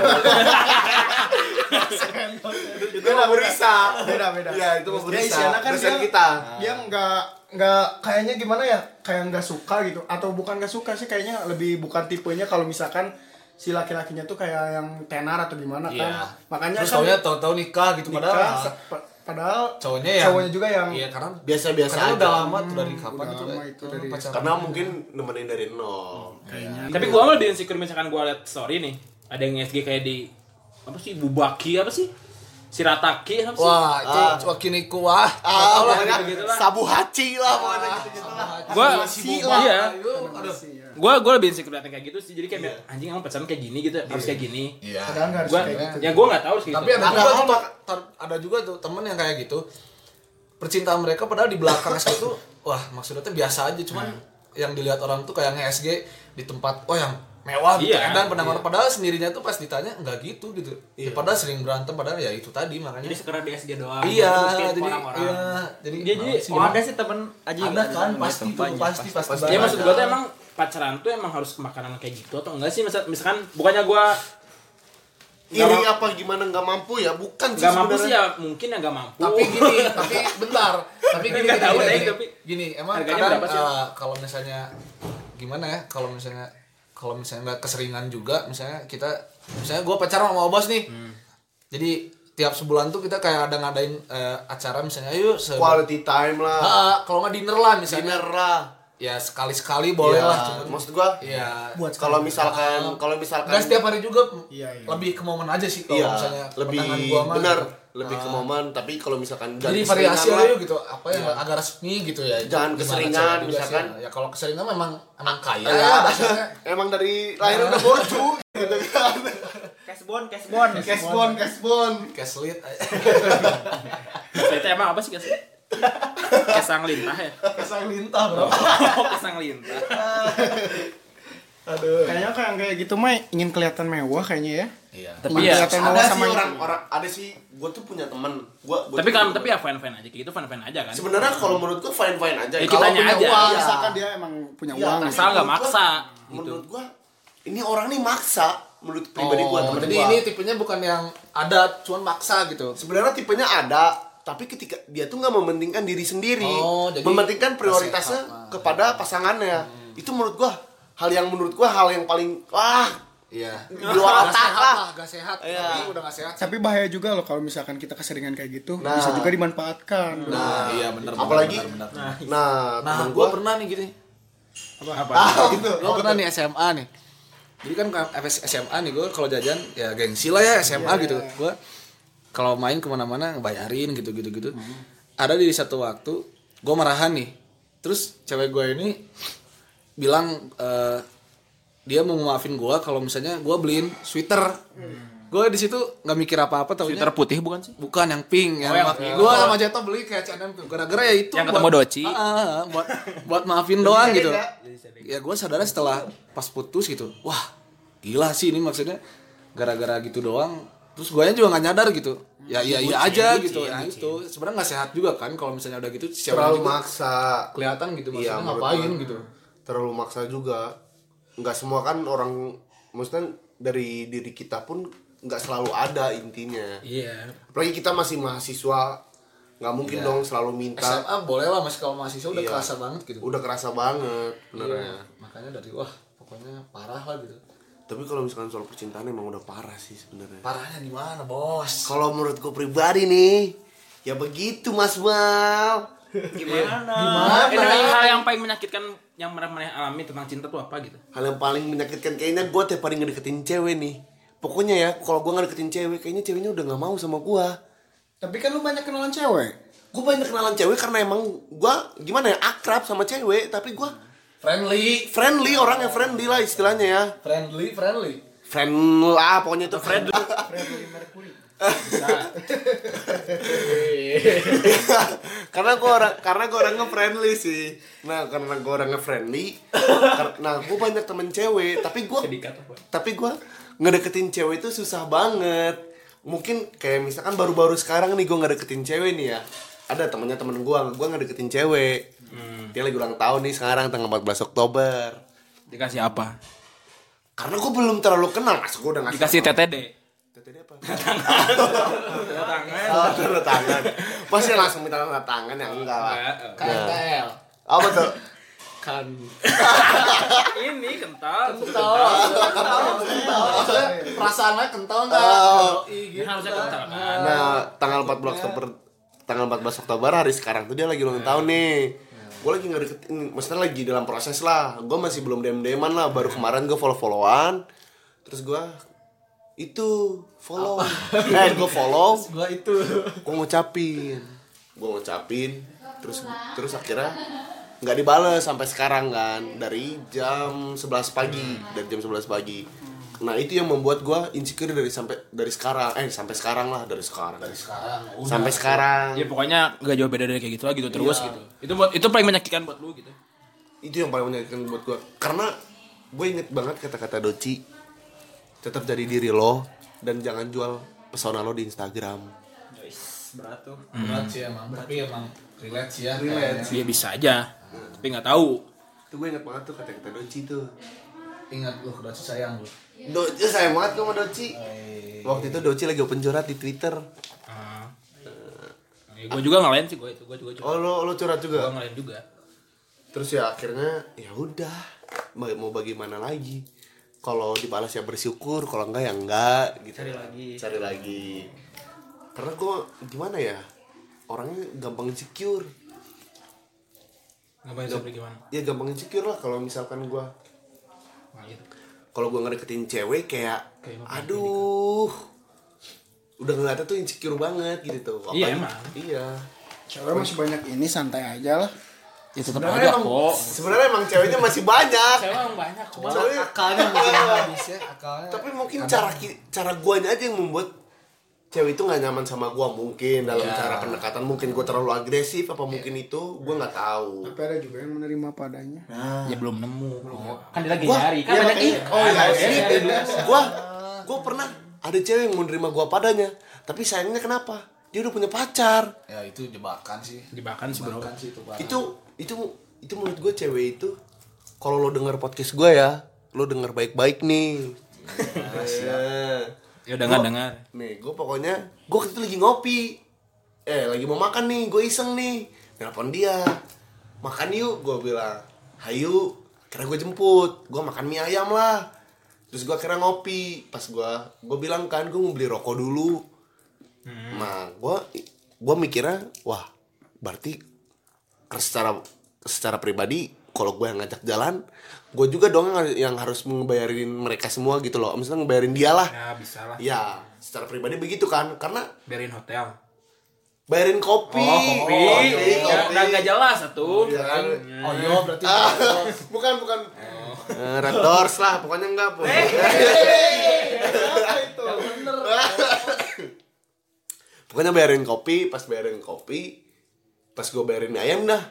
[SPEAKER 5] Itu mah berisa.
[SPEAKER 2] beda beda
[SPEAKER 5] Iya, itu mah
[SPEAKER 2] dia
[SPEAKER 5] berisa.
[SPEAKER 2] Isyana kan
[SPEAKER 5] Dosen
[SPEAKER 2] dia-
[SPEAKER 5] kita.
[SPEAKER 2] dia nggak nggak kayaknya gimana ya kayak nggak suka gitu atau bukan nggak suka sih kayaknya lebih bukan tipenya kalau misalkan si laki-lakinya tuh kayak yang tenar atau gimana kan
[SPEAKER 4] Iya.
[SPEAKER 2] makanya
[SPEAKER 4] terus
[SPEAKER 2] kan
[SPEAKER 4] taunya tahu-tahu nikah gitu
[SPEAKER 2] nikah,
[SPEAKER 4] padahal
[SPEAKER 2] sa- pa- padahal
[SPEAKER 4] Cowoknya yang-
[SPEAKER 2] cowoknya juga yang Hmm,
[SPEAKER 4] Iya karena
[SPEAKER 5] Biasa-biasa
[SPEAKER 4] karena
[SPEAKER 5] aja.
[SPEAKER 4] udah lama tuh dari kapan
[SPEAKER 2] udah
[SPEAKER 4] itu
[SPEAKER 2] lama
[SPEAKER 4] eh,
[SPEAKER 2] itu dari-
[SPEAKER 4] pacaran.
[SPEAKER 5] Karena mungkin nemenin dari nol.
[SPEAKER 3] Tapi gua mah di insecure misalkan gua liat story nih, ada yang SG kayak di apa sih Bubaki apa sih? Sirataki apa sih?
[SPEAKER 4] Wah, itu wakiniku
[SPEAKER 1] Ah,
[SPEAKER 4] wah. Tau lah,
[SPEAKER 1] pokoknya
[SPEAKER 4] gitu-gitu lah.
[SPEAKER 1] sabu haci lah pokoknya gitu-gitu lah.
[SPEAKER 3] Gua
[SPEAKER 4] Si
[SPEAKER 3] lah. Iya.
[SPEAKER 4] Aduh.
[SPEAKER 3] Gua gua lebih insecure liatnya kayak gitu sih. Jadi kayak anjing emang pacaran kayak gini gitu, harus kayak gini.
[SPEAKER 4] Iya.
[SPEAKER 2] padahal nggak harus
[SPEAKER 3] Gua
[SPEAKER 2] kayak gitu
[SPEAKER 3] ya gua enggak tahu sih gitu.
[SPEAKER 4] Tapi ada juga tuh, tar- ada juga tuh temen yang kayak gitu. Percintaan mereka padahal di belakang SG tuh wah maksudnya tuh biasa aja cuman yang dilihat orang tuh kayak nge-SG di tempat oh yang mewah gitu
[SPEAKER 3] Iya,
[SPEAKER 4] dan pendengar padahal sendirinya tuh pas ditanya nggak gitu gitu. Ya, padahal sering berantem padahal ya itu tadi makanya.
[SPEAKER 3] jadi sekedar di SG doang.
[SPEAKER 4] iya,
[SPEAKER 3] Terus
[SPEAKER 4] jadi
[SPEAKER 3] orang-orang.
[SPEAKER 4] iya, jadi
[SPEAKER 3] Dia jadi
[SPEAKER 4] sih,
[SPEAKER 8] Oh, ada sih temen aja
[SPEAKER 4] ada kan pasti tuh, pasti pasti.
[SPEAKER 3] Ya
[SPEAKER 4] banget.
[SPEAKER 3] maksud gua tuh emang pacaran tuh emang harus ke makanan kayak gitu atau enggak sih Misal- misalkan bukannya gua
[SPEAKER 5] Iri apa gimana nggak mampu ya? Bukan sih
[SPEAKER 3] nggak mampu sih ya
[SPEAKER 5] sebenarnya.
[SPEAKER 3] mungkin ya nggak mampu
[SPEAKER 4] tapi gini tapi bentar tapi gini
[SPEAKER 3] Nggak
[SPEAKER 4] gini,
[SPEAKER 3] tahu
[SPEAKER 4] gini,
[SPEAKER 3] deh,
[SPEAKER 4] gini.
[SPEAKER 3] tapi-
[SPEAKER 4] Gini, emang
[SPEAKER 3] Harganya
[SPEAKER 4] kadang
[SPEAKER 3] berapa sih?
[SPEAKER 4] eh, kalau misalnya gimana ya kalau misalnya kalau misalnya nggak keseringan juga misalnya kita misalnya gue pacaran sama obos nih
[SPEAKER 3] Hmm.
[SPEAKER 4] jadi tiap sebulan tuh kita kayak ada ngadain eh, acara misalnya yuk se-
[SPEAKER 5] Quality time lah.
[SPEAKER 4] Ah, kalau nggak dinner lah misalnya
[SPEAKER 5] Dinner lah.
[SPEAKER 4] ya sekali sekali boleh
[SPEAKER 5] Ya,
[SPEAKER 4] lah cuman
[SPEAKER 5] maksud gua
[SPEAKER 4] ya
[SPEAKER 2] buat
[SPEAKER 5] kalau misalkan kalau misalkan
[SPEAKER 4] nggak setiap hari juga
[SPEAKER 2] Iya, iya.
[SPEAKER 4] lebih ke momen aja sih kalau
[SPEAKER 5] iya,
[SPEAKER 4] misalnya
[SPEAKER 5] lebih
[SPEAKER 4] pasangan gua mah
[SPEAKER 5] benar,
[SPEAKER 4] gitu.
[SPEAKER 5] lebih ke momen, tapi kalau misalkan jangan
[SPEAKER 4] Jadi variasi aja
[SPEAKER 5] keseringan lah.
[SPEAKER 4] yuk gitu, apa yang agak resmi gitu ya.
[SPEAKER 5] Jangan
[SPEAKER 4] Gimana
[SPEAKER 5] keseringan,
[SPEAKER 4] caranya juga
[SPEAKER 5] misalkan.
[SPEAKER 4] sih. Ya kalau keseringan memang emang kaya
[SPEAKER 5] Ya,
[SPEAKER 4] ya. dasarnya. Ya,
[SPEAKER 5] emang dari lahir udah bocu gitu kan.
[SPEAKER 8] Cashbon, cashbon.
[SPEAKER 1] Cashbon, cashbon.
[SPEAKER 4] Keslit.
[SPEAKER 3] Nah, itu emang apa sih kes kesang lintah ya
[SPEAKER 4] Kesang lintah, Bro.
[SPEAKER 3] oh kesang lintah
[SPEAKER 4] Aduh.
[SPEAKER 2] kayaknya kayak yang kayak gitu mah ingin kelihatan mewah kayaknya ya
[SPEAKER 4] Iya.
[SPEAKER 2] tapi
[SPEAKER 3] iya,
[SPEAKER 2] kelihatan
[SPEAKER 5] ada
[SPEAKER 2] mewah
[SPEAKER 5] sih
[SPEAKER 2] sama
[SPEAKER 5] orang
[SPEAKER 4] gitu.
[SPEAKER 5] orang ada sih gue tuh punya teman gue
[SPEAKER 3] tapi kan tapi ya fan fan aja kayak gitu fan fan aja kan
[SPEAKER 5] sebenarnya kalau menurut gue fine fine aja
[SPEAKER 3] Ya,
[SPEAKER 5] kalau
[SPEAKER 3] kitanya
[SPEAKER 5] punya
[SPEAKER 3] aja.
[SPEAKER 5] uang
[SPEAKER 2] misalkan dia emang punya
[SPEAKER 5] Iya,
[SPEAKER 2] uang
[SPEAKER 5] tapi
[SPEAKER 3] Asal nggak
[SPEAKER 5] menurut gua-
[SPEAKER 3] maksa, gitu.
[SPEAKER 5] menurut gue ini orang nih maksa menurut pribadi gue
[SPEAKER 4] Oh,
[SPEAKER 5] temen
[SPEAKER 4] jadi
[SPEAKER 5] gua.
[SPEAKER 4] ini tipenya bukan yang ada cuman maksa gitu.
[SPEAKER 5] sebenarnya tipenya ada tapi ketika dia tuh nggak mementingkan diri sendiri
[SPEAKER 4] Oh, jadi
[SPEAKER 5] mementingkan prioritasnya
[SPEAKER 4] masih apa.
[SPEAKER 5] kepada pasangannya
[SPEAKER 4] Hmm.
[SPEAKER 5] itu menurut gua hal yang menurut gua hal yang paling wah
[SPEAKER 4] Iya.
[SPEAKER 5] di
[SPEAKER 4] Gak
[SPEAKER 5] luar otak
[SPEAKER 4] sehat
[SPEAKER 5] lah
[SPEAKER 4] lah, gak sehat.
[SPEAKER 5] Iya.
[SPEAKER 4] Tapi udah gak sehat.
[SPEAKER 2] tapi bahaya juga loh kalau misalkan kita keseringan kayak gitu
[SPEAKER 5] Nah.
[SPEAKER 2] bisa juga dimanfaatkan
[SPEAKER 4] Nah, iya benar.
[SPEAKER 5] apalagi
[SPEAKER 4] benar, benar.
[SPEAKER 5] nah
[SPEAKER 4] Nah,
[SPEAKER 5] temen
[SPEAKER 4] gue
[SPEAKER 5] gua Ah, gitu.
[SPEAKER 4] pernah nih gini.
[SPEAKER 3] apa
[SPEAKER 4] Gue pernah nih SMA nih. Jadi kan kalau FS SMA nih gue kalau jajan ya gengsi lah ya SMA
[SPEAKER 3] Iya,
[SPEAKER 4] gitu. Gue kalau main kemana-mana ngebayarin gitu-gitu gitu.
[SPEAKER 3] Hmm.
[SPEAKER 4] Ada di satu waktu gue marahan nih. Terus cewek gue ini bilang eh, dia mau maafin gue kalau misalnya gue beliin sweater.
[SPEAKER 3] Hmm.
[SPEAKER 4] Gue di situ nggak mikir apa-apa tapi
[SPEAKER 3] Twitter putih bukan sih
[SPEAKER 4] Bukan yang pink,
[SPEAKER 3] Oh,
[SPEAKER 4] yang,
[SPEAKER 3] yang
[SPEAKER 4] mak- gua sama Jeto beli kayak H&M tuh. Gara-gara ya itu
[SPEAKER 8] Yang ketemu Doci.
[SPEAKER 4] Ah, ah, ah, buat buat maafin doang gitu. Ya gua sadar setelah pas putus gitu. Wah, gila sih ini maksudnya gara-gara gitu doang. Terus guanya juga nggak nyadar gitu. Ya iya iya aja gitu. Nah itu sebenarnya nggak sehat juga kan kalau misalnya udah gitu siapa
[SPEAKER 5] terlalu
[SPEAKER 4] juga
[SPEAKER 5] maksa
[SPEAKER 4] kelihatan gitu
[SPEAKER 5] Iya,
[SPEAKER 4] maksudnya
[SPEAKER 5] menurut
[SPEAKER 4] ngapain
[SPEAKER 5] gua.
[SPEAKER 4] gitu.
[SPEAKER 5] terlalu maksa juga nggak semua kan orang maksudnya dari diri kita pun nggak selalu ada intinya
[SPEAKER 3] iya
[SPEAKER 5] apalagi kita masih mahasiswa nggak mungkin
[SPEAKER 4] Iya.
[SPEAKER 5] dong selalu minta
[SPEAKER 4] SMA ah, boleh lah masih kalau mahasiswa udah
[SPEAKER 5] Iya.
[SPEAKER 4] kerasa banget gitu.
[SPEAKER 5] udah kerasa banget
[SPEAKER 4] Iya,
[SPEAKER 5] benernya
[SPEAKER 4] makanya dari wah pokoknya parah lah gitu.
[SPEAKER 5] tapi kalau misalkan soal percintaan emang udah parah sih sebenarnya
[SPEAKER 4] Parahnya di mana, Bos?
[SPEAKER 5] kalau menurut gue pribadi nih ya begitu mas mal
[SPEAKER 3] ini hal yang paling menyakitkan yang pernah pernah alami tentang cinta tuh apa gitu
[SPEAKER 5] hal yang paling menyakitkan kayaknya gue tiap hari ngedeketin cewek nih pokoknya ya kalau gue ngedeketin cewek kayaknya ceweknya udah nggak mau sama gue
[SPEAKER 2] tapi kan lu banyak kenalan cewek
[SPEAKER 5] gue banyak kenalan cewek karena emang gue gimana ya akrab sama cewek tapi gue
[SPEAKER 4] Friendly,
[SPEAKER 5] friendly orang yang friendly lah istilahnya ya
[SPEAKER 4] friendly, friendly.
[SPEAKER 5] friend lah pokoknya itu friend karena gue orang karena gue orangnya friendly sih nah karena gue orangnya friendly kar- nah gue banyak temen cewek tapi gue tapi gue ngedeketin cewek itu susah banget mungkin kayak misalkan baru-baru sekarang nih gue ngedeketin cewek nih ya ada temennya temen gue gue ngedeketin cewek dia lagi ulang tahun nih sekarang tanggal 14 Oktober
[SPEAKER 3] dikasih apa
[SPEAKER 5] karena gue belum terlalu kenal mas gue udah ngasih
[SPEAKER 3] dikasih TTD
[SPEAKER 8] Ya,
[SPEAKER 5] Tadi apa? tangan. Oh, Tanda tangan. Pasti langsung minta tanda tangan ya enggak lah.
[SPEAKER 4] KTL.
[SPEAKER 5] Nah, Apa tuh?
[SPEAKER 4] Kan.
[SPEAKER 3] ini kental
[SPEAKER 4] Perasaannya kental nggak?
[SPEAKER 5] Oh.
[SPEAKER 4] Doi gitu.
[SPEAKER 3] harusnya kental kan
[SPEAKER 5] Nah, tanggal 14 Oktober tanggal 14 Oktober hari sekarang tuh dia lagi
[SPEAKER 4] Iya.
[SPEAKER 5] ulang tahun nih gue lagi nggak deketin maksudnya lagi dalam proses lah gue masih belum dm dman lah baru
[SPEAKER 4] Iya.
[SPEAKER 5] kemarin gue follow followan terus gue itu follow eh gue follow
[SPEAKER 4] Gua itu.
[SPEAKER 5] gue ngucapin gue ngucapin terus terus akhirnya nggak dibales sampai sekarang kan dari jam 11 pagi dari jam 11 pagi nah itu yang membuat gue insecure dari sampai dari sekarang eh sampai sekarang lah dari sekarang dari sekarang sampai sekarang
[SPEAKER 3] Ya pokoknya gak jauh beda dari kayak gitu lah gitu terus gitu. Itu buat itu paling menyakitkan buat lu gitu.
[SPEAKER 5] itu yang paling menyakitkan buat gue karena gue inget banget kata-kata Doci tetap jadi diri lo dan jangan jual pesona lo di Instagram
[SPEAKER 4] Berat sih emang, tapi emang relate sih ya.
[SPEAKER 5] Hmm. Relate.
[SPEAKER 3] Dia bisa aja. Tapi nggak tahu.
[SPEAKER 5] itu gue inget banget tuh kata-kata Doci tuh
[SPEAKER 4] kayaknya. Ingat lu udah sayang lu.
[SPEAKER 5] Doci sayang banget gue sama Doci waktu itu Doci lagi open jorat di Twitter
[SPEAKER 3] Ya, gue juga ngalahin sih gue itu. Gue juga
[SPEAKER 5] oh lo lo curhat
[SPEAKER 3] Gue
[SPEAKER 5] juga
[SPEAKER 3] ngalahin juga.
[SPEAKER 5] terus ya akhirnya ya udah Baga- mau bagaimana lagi kalau dibalas ya bersyukur kalau enggak ya enggak gitu cari lagi cari lagi karena gue gimana ya orangnya gampang insecure
[SPEAKER 3] Ngapain sampai gimana?
[SPEAKER 5] ya gampang insecure lah kalau misalkan gue
[SPEAKER 3] Nah, gitu.
[SPEAKER 5] kalau gue ngedeketin cewek kayak aduh udah ngeliatnya tuh insecure banget gitu tuh
[SPEAKER 3] Iya,
[SPEAKER 5] Apalagi-
[SPEAKER 3] emang.
[SPEAKER 5] iya
[SPEAKER 2] Cewek masih banyak ini santai aja lah.
[SPEAKER 6] Ya tetap aja
[SPEAKER 5] sebenarnya emang
[SPEAKER 6] kok.
[SPEAKER 5] sebenarnya emang ceweknya masih banyak
[SPEAKER 3] Emang banyak cuma
[SPEAKER 5] Soalnya-
[SPEAKER 4] Akalnya mungkin habis ya, akalnya.
[SPEAKER 5] tapi mungkin cara ki- cara guanya aja yang membuat cewek itu nggak nyaman sama gua mungkin dalam cara pendekatan mungkin gua terlalu agresif apa mungkin
[SPEAKER 3] Iya.
[SPEAKER 5] itu gua nggak tahu
[SPEAKER 2] Tapi ada juga yang menerima padanya.
[SPEAKER 3] ya belum nemu.
[SPEAKER 6] Kan dia lagi nyari kan
[SPEAKER 5] Iya,
[SPEAKER 6] banyak
[SPEAKER 5] makanya- oh iya ini gua gua pernah ada cewek yang mau nerima gua padanya tapi sayangnya kenapa dia udah punya pacar
[SPEAKER 4] Ya itu jebakan sih.
[SPEAKER 3] Jebakan sih bro.
[SPEAKER 4] Jebakan sih itu parah.
[SPEAKER 5] itu itu itu menurut gue cewek itu kalau lo denger podcast gue ya lo denger baik-baik nih Nah.
[SPEAKER 3] Ya dengar dengar.
[SPEAKER 5] nih gue pokoknya gue waktu itu lagi ngopi eh lagi mau makan nih gue iseng nih nelpon dia makan yuk gue bilang hayu kira gue jemput gue makan mie ayam lah terus gue kira ngopi pas gue gue bilang kan gue mau beli rokok dulu nah gue gue mikirnya wah berarti secara secara pribadi kalau gue yang ngajak jalan gue juga dong yang yang harus ngebayarin mereka semua gitu loh misalnya ngebayarin dia lah
[SPEAKER 3] Ya bisa lah.
[SPEAKER 5] ya secara pribadi begitu kan karena
[SPEAKER 3] Biarin hotel.
[SPEAKER 5] bayarin
[SPEAKER 3] Oh,
[SPEAKER 5] kopi Iya,
[SPEAKER 3] kopi.
[SPEAKER 5] Kopi,
[SPEAKER 3] Ya, Udah
[SPEAKER 5] kopi.
[SPEAKER 3] nggak jelas tuh.
[SPEAKER 5] Ya kan?
[SPEAKER 4] Oh iya berarti.
[SPEAKER 5] bukan bukan Eh, Red Doors lah pokoknya enggak pun pokoknya bayarin kopi pas bayarin kopi pas gue bayarin mie ayam dah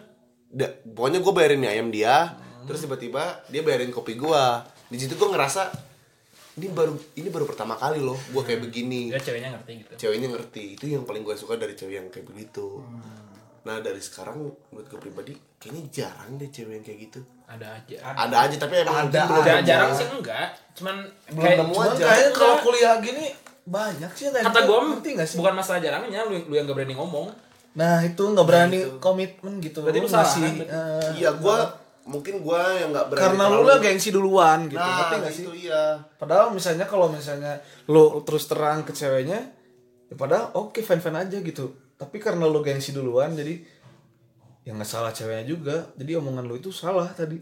[SPEAKER 5] Da- pokoknya gue bayarin mie ayam dia terus tiba-tiba dia bayarin kopi gue di situ gue ngerasa ini baru ini baru pertama kali loh gue kayak begini
[SPEAKER 3] Ya ceweknya ngerti gitu.
[SPEAKER 5] ceweknya ngerti itu yang paling gue suka dari cewek yang kayak begitu nah dari sekarang menurut gue pribadi kayaknya jarang deh cewek yang kayak gitu
[SPEAKER 3] Ada aja.
[SPEAKER 5] ada aja tapi emang gitu ada
[SPEAKER 3] Ada jarang sih enggak. Cuman
[SPEAKER 5] belum
[SPEAKER 3] kayak-
[SPEAKER 5] nemu
[SPEAKER 4] Cuman
[SPEAKER 5] aja
[SPEAKER 4] kayaknya kalau kuliah gini banyak sih yang kayak
[SPEAKER 3] kata
[SPEAKER 4] gitu.
[SPEAKER 3] gue
[SPEAKER 4] Ngerti nggak sih?
[SPEAKER 3] bukan masalah jarangnya lu lu yang gak berani ngomong
[SPEAKER 4] Nah itu nggak berani komitmen gitu.
[SPEAKER 3] Berarti lu salah,
[SPEAKER 4] masih
[SPEAKER 3] kan?
[SPEAKER 4] eh,
[SPEAKER 5] iya gue mungkin gue yang nggak berani
[SPEAKER 4] karena lu lah
[SPEAKER 5] terlalu-
[SPEAKER 4] gengsi duluan gitu.
[SPEAKER 5] nah
[SPEAKER 4] Ngerti nggak sih?
[SPEAKER 5] gitu iya
[SPEAKER 4] Padahal misalnya kalau misalnya lo terus terang ke ceweknya, ya padahal oke fan-fan aja gitu. Tapi karena lo gengsi duluan, jadi yang nggak salah ceweknya juga. Jadi omongan lo itu salah tadi.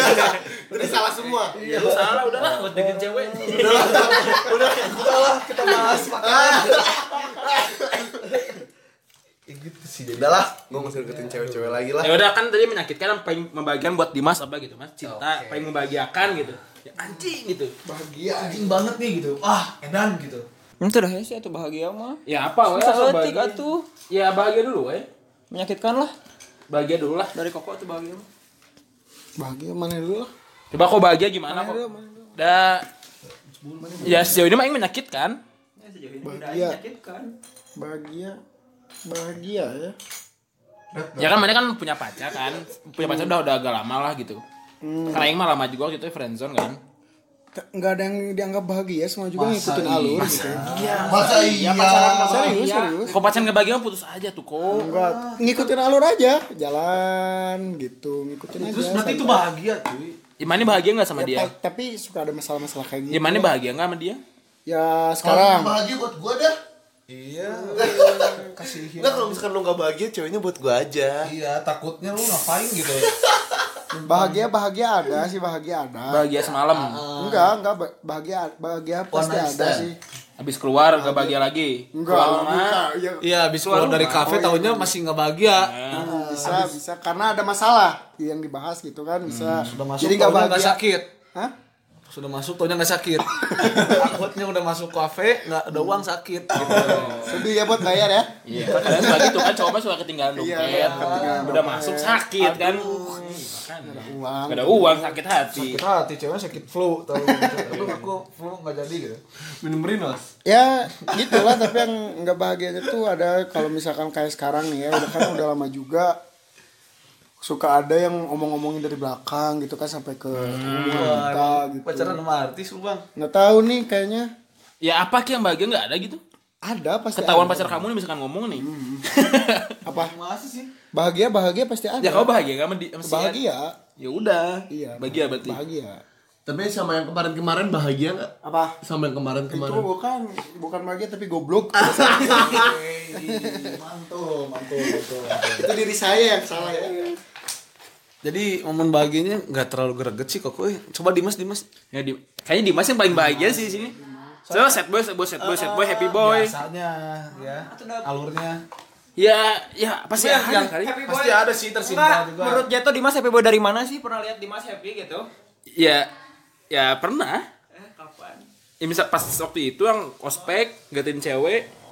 [SPEAKER 5] jadi salah semua
[SPEAKER 3] ya lu salah udahlah buat bikin cewek
[SPEAKER 4] Udahlah kita bahas makan. ya gitu sih jadi.
[SPEAKER 5] udahlah gue nggak usah deketin cewek-cewek lagi lah
[SPEAKER 3] ya udah kan tadi menyakitkan yang paling membahagiakan buat Dimas apa gitu mas cinta paling membahagiakan gitu ya anjing gitu
[SPEAKER 4] Bahagia anjing banget nih gitu. Ah edan gitu.
[SPEAKER 6] Itu dah sih atuh bahagia mah.
[SPEAKER 3] ya
[SPEAKER 4] Iya,
[SPEAKER 3] apa wes
[SPEAKER 6] Ya etik atuh.
[SPEAKER 3] ya bahagia dulu wes
[SPEAKER 6] Menyakitkan lah
[SPEAKER 3] bahagia dulu lah
[SPEAKER 6] dari koko tuh bahagia mah.
[SPEAKER 2] Bahagia mana dulu lah.
[SPEAKER 3] coba kok bahagia gimana kok da ya sejauh ini mah yang menyakitkan
[SPEAKER 2] Bahagia. Bahagia. Bahagia ya.
[SPEAKER 3] ya kan mana kan punya pacar kan punya pacar udah udah agak lama lah gitu karena yang mah lama juga gitu friendzone kan
[SPEAKER 2] T- nggak ada yang dianggap bahagia semua juga ngikutin alur gitu
[SPEAKER 4] Masa iya.
[SPEAKER 2] serius serius
[SPEAKER 3] kok pacar nggak bahagia mah putus aja tuh kok
[SPEAKER 2] enggak ngikutin alur aja jalan gitu ngikutin aja
[SPEAKER 4] Terus berarti itu bahagia cuy.
[SPEAKER 3] Imani bahagia nggak sama dia?
[SPEAKER 2] Ta- tapi
[SPEAKER 3] Ya,
[SPEAKER 2] suka ada masalah-masalah kayak gitu
[SPEAKER 3] Imani bahagia nggak sama dia?
[SPEAKER 2] ya sekarang
[SPEAKER 4] bahagia buat gua dah. Iya,
[SPEAKER 5] Enggak kalau misalkan kan lu gak bahagia ceweknya buat gua aja
[SPEAKER 4] iya takutnya lu ngapain gitu.
[SPEAKER 2] Bahagia bahagia ada sih bahagia ada.
[SPEAKER 3] Bahagia semalam.
[SPEAKER 2] Enggak enggak ba- bahagia bahagia pasti
[SPEAKER 4] night
[SPEAKER 2] ada
[SPEAKER 4] stand.
[SPEAKER 2] sih.
[SPEAKER 3] Habis keluar gak bahagia lagi.
[SPEAKER 2] Enggak,
[SPEAKER 3] Keluar rumah,
[SPEAKER 2] enggak, ya,
[SPEAKER 4] Iya, habis keluar dari
[SPEAKER 5] Oh,
[SPEAKER 4] kafe taunya masih nggak bahagia.
[SPEAKER 5] Nah.
[SPEAKER 2] bisa bisa karena ada masalah yang dibahas gitu kan bisa.
[SPEAKER 4] Sudah masuk
[SPEAKER 2] Jadi nggak
[SPEAKER 4] taunya
[SPEAKER 2] bahagia.
[SPEAKER 4] sakit.
[SPEAKER 2] Hah?
[SPEAKER 4] Sudah masuk taunya nggak sakit. Takutnya udah masuk kafe nggak ada uang sakit. Gitu.
[SPEAKER 2] Sedih ya buat bayar ya.
[SPEAKER 3] Iya, kan kadang suka gitu kan cowok mah suka ketinggalan dompet.
[SPEAKER 2] Iya, ketinggalan
[SPEAKER 3] udah masuk sakit kan.
[SPEAKER 2] Uang.
[SPEAKER 3] Gak ada uang, sakit hati.
[SPEAKER 4] Sakit
[SPEAKER 2] Ah,
[SPEAKER 4] hati cewek sakit flu tahu. Aduh aku flu nggak jadi gitu. Minum Rinos.
[SPEAKER 2] ya gitulah tapi yang nggak bahagianya tuh ada kalau misalkan kayak sekarang nih ya udah kan udah lama juga suka ada yang omong-omongin dari belakang gitu kan sampai ke hubungan kita gitu
[SPEAKER 4] Pacaran sama artis lu bang.
[SPEAKER 2] nggak tahu nih kayaknya
[SPEAKER 3] Ya apa Ki, yang bahagia gak ada gitu?
[SPEAKER 2] ada pasti
[SPEAKER 3] Ketahuan
[SPEAKER 2] ada.
[SPEAKER 3] pacar kamu nih misalkan ngomong nih.
[SPEAKER 2] Hmm. apa
[SPEAKER 4] Masih sih.
[SPEAKER 2] bahagia bahagia pasti ada
[SPEAKER 3] ya kamu bahagia kamu di sama si Ian?
[SPEAKER 2] bahagia
[SPEAKER 3] Ya udah.
[SPEAKER 2] iya
[SPEAKER 3] Bahagia berarti.
[SPEAKER 2] bahagia
[SPEAKER 5] Tapi sama yang kemarin-kemarin bahagia gak?
[SPEAKER 2] apa
[SPEAKER 5] Sama yang
[SPEAKER 2] itu
[SPEAKER 4] Oh,
[SPEAKER 5] kemarin-kemarin
[SPEAKER 2] bukan bukan bahagia tapi goblok
[SPEAKER 4] Mantul, mantul, mantul.
[SPEAKER 2] itu diri saya yang salah ya
[SPEAKER 4] Jadi momen bahagianya nggak terlalu greget sih kok. Eh, coba Dimas, Dimas.
[SPEAKER 3] Ya, di, kayaknya Dimas yang paling bahagia sih di sini. So, sad boy, sad boy, sad boy, sad boy, happy
[SPEAKER 2] Ah,
[SPEAKER 3] boy.
[SPEAKER 4] Biasanya ya alurnya.
[SPEAKER 3] Ya, ya pasti ya, ada kali.
[SPEAKER 4] Pasti ada sih tersimpal juga.
[SPEAKER 8] Menurut Jato Dimas happy boy dari mana sih? Pernah lihat Dimas happy gitu?
[SPEAKER 3] Ya, ya pernah.
[SPEAKER 8] Kapan?
[SPEAKER 3] Ya, misal pas waktu itu yang ospek, gatin cewek,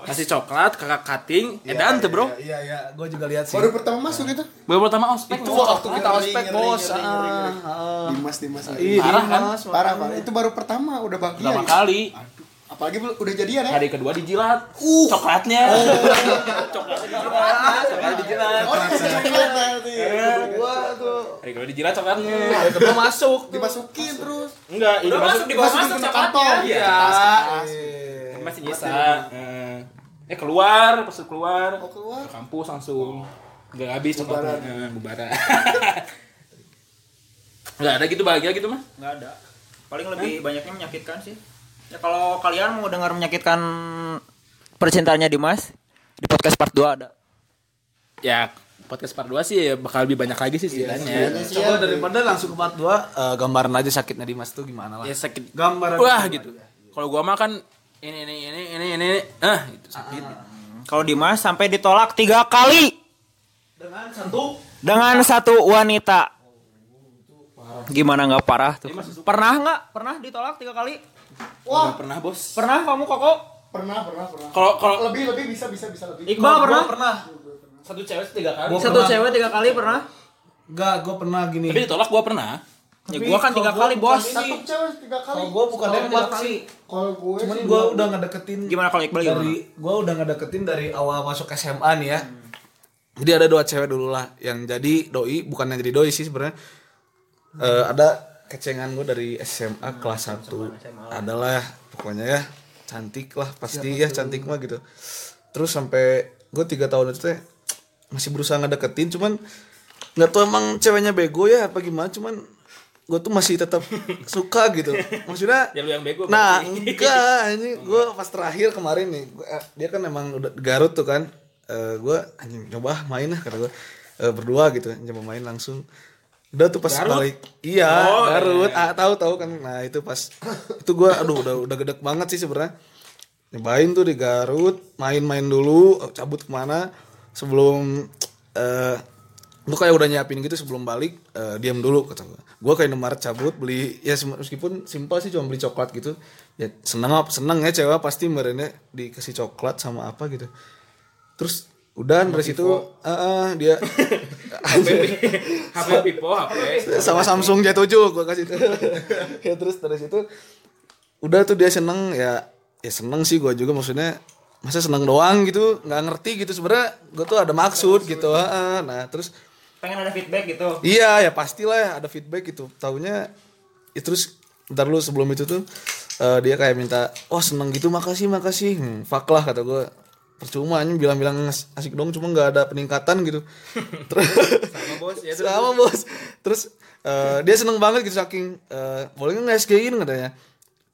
[SPEAKER 3] kasih coklat, kakak cutting, edan tuh bro.
[SPEAKER 4] Iya iya, gue juga lihat sih.
[SPEAKER 2] baru pertama masuk itu
[SPEAKER 3] Baru pertama ospek.
[SPEAKER 4] itu
[SPEAKER 3] tuh.
[SPEAKER 4] waktu kita ospek bos. Ah,
[SPEAKER 2] dimas dimas lagi.
[SPEAKER 3] Parah kan?
[SPEAKER 2] parah parah itu baru pertama udah bahagia
[SPEAKER 3] Pertama
[SPEAKER 2] gitu.
[SPEAKER 3] kali.
[SPEAKER 2] apalagi bel- udah jadian ya
[SPEAKER 3] Hari kedua dijilat.
[SPEAKER 4] Uh.
[SPEAKER 3] Coklatnya.
[SPEAKER 4] Oh.
[SPEAKER 8] Coba dijelas.
[SPEAKER 3] Hari kedua dijilat coklatnya.
[SPEAKER 4] Kedua masuk.
[SPEAKER 2] dimasukin terus
[SPEAKER 3] Enggak, ini
[SPEAKER 8] Udah masuk
[SPEAKER 3] masuk
[SPEAKER 8] di bawah
[SPEAKER 2] dimasukin
[SPEAKER 8] masuk ya?
[SPEAKER 2] ke
[SPEAKER 8] coklatnya.
[SPEAKER 2] kantong.
[SPEAKER 3] Iya. Masih nyisa. Eh, Iya, Eh keluar, pas Oh, keluar.
[SPEAKER 2] keluar.
[SPEAKER 3] Ke kampus langsung. Enggak habis coklatnya. Eh, Bubaran. Enggak ada gitu bahagia gitu mah.
[SPEAKER 8] Nggak ada. Paling lebih banyaknya menyakitkan sih. Ya kalau kalian mau dengar menyakitkan percintaannya Dimas di podcast part 2 ada.
[SPEAKER 3] Ya podcast part 2 sih ya bakal lebih banyak lagi sih
[SPEAKER 2] Iya.
[SPEAKER 3] ceritanya.
[SPEAKER 4] Iya, Coba daripada langsung ke part 2 Eh, gambaran aja sakitnya Dimas tuh gimana lah.
[SPEAKER 3] Ya sakit.
[SPEAKER 4] Gambaran.
[SPEAKER 3] Wah gitu. Kalau gua mah kan ini ini ini ini ini ini. ah gitu sakit.
[SPEAKER 8] Kalau Dimas sampai ditolak tiga kali
[SPEAKER 4] Dengan satu
[SPEAKER 8] dengan satu wanita. Gimana nggak parah tuh? Pernah nggak? Pernah ditolak tiga kali?
[SPEAKER 3] Wah, pernah bos.
[SPEAKER 8] Pernah kamu koko?
[SPEAKER 2] pernah pernah pernah
[SPEAKER 3] Kalau kalau
[SPEAKER 2] lebih lebih bisa bisa bisa lebih
[SPEAKER 8] Iqbal pernah?
[SPEAKER 4] pernah.
[SPEAKER 3] satu cewek tiga kali.
[SPEAKER 4] Gua
[SPEAKER 8] Satu
[SPEAKER 4] pernah.
[SPEAKER 8] cewek tiga kali pernah?
[SPEAKER 4] Enggak, gue pernah gini.
[SPEAKER 3] Tapi ditolak gua pernah.
[SPEAKER 8] Ya
[SPEAKER 4] Tapi
[SPEAKER 8] gua kan tiga
[SPEAKER 4] kalau gua
[SPEAKER 8] kali
[SPEAKER 4] bukan
[SPEAKER 8] bos.
[SPEAKER 4] ini.
[SPEAKER 2] satu cewek tiga kali
[SPEAKER 4] Kalau gue bukan
[SPEAKER 8] Kalau
[SPEAKER 4] nembak
[SPEAKER 8] tiga kali.
[SPEAKER 4] sih.
[SPEAKER 2] kalau gue
[SPEAKER 4] Cuman
[SPEAKER 2] sih
[SPEAKER 4] gue udah ngedeketin
[SPEAKER 8] Gimana kalau Iqbal gimana?
[SPEAKER 4] dari gue udah ngedeketin dari awal masuk SMA nih ya. Jadi ada dua cewek dulu lah yang jadi doi, bukan yang jadi doi sih sebenarnya. Eh, ada kecengan gue dari SMA
[SPEAKER 3] Hmm,
[SPEAKER 4] kelas 1 adalah pokoknya ya cantik lah pasti ya cantik mah gitu terus sampai gue tiga tahun itu teh masih berusaha ngedeketin cuman nggak tahu emang ceweknya bego ya apa gimana cuman gue tuh masih tetap suka gitu maksudnya
[SPEAKER 3] Ya lu yang bego.
[SPEAKER 4] Nah,
[SPEAKER 3] berarti.
[SPEAKER 4] enggak, ini gue pas terakhir kemarin nih, gua- eh, dia kan emang udah di Garut tuh kan, Eh gue anjing coba main lah kata gue berdua gitu, coba main langsung. Udah tuh pas balik, iya Garut, ah, tahu tahu kan, nah itu pas itu gue, aduh udah udah gedek banget sih sebenarnya. Nyobain tuh di Garut, main-main dulu, eh, cabut kemana sebelum eh gue kayak udah nyiapin gitu sebelum balik eh, diam dulu kata gue gue kayak Indomaret cabut beli ya sem- meskipun simpel sih cuma beli coklat gitu ya seneng apa seneng ya cewek pasti merenya dikasih coklat sama apa gitu terus udah dari situ eh, eh, dia
[SPEAKER 3] HP Pipo, HP.
[SPEAKER 4] sama Samsung J7 gue kasih tuh. ya terus dari situ udah tuh dia seneng ya ya seneng sih gue juga maksudnya masa seneng doang gitu nggak ngerti gitu sebenarnya gue tuh ada maksud gitu heeh. nah terus
[SPEAKER 8] Pengen ada feedback gitu.
[SPEAKER 4] Iya ya pastilah ada feedback gitu. Taunya ya terus ntar lu sebelum itu tuh eh, dia kayak minta, "Oh, seneng gitu, makasih, makasih." Hmm, fuck lah kata gue. Percuma anjing bilang-bilang as- asik dong cuma nggak ada peningkatan gitu. Terus sama bos ya Sama bos. Terus eh, dia seneng banget gitu saking eh, boleh nggak SG-in katanya.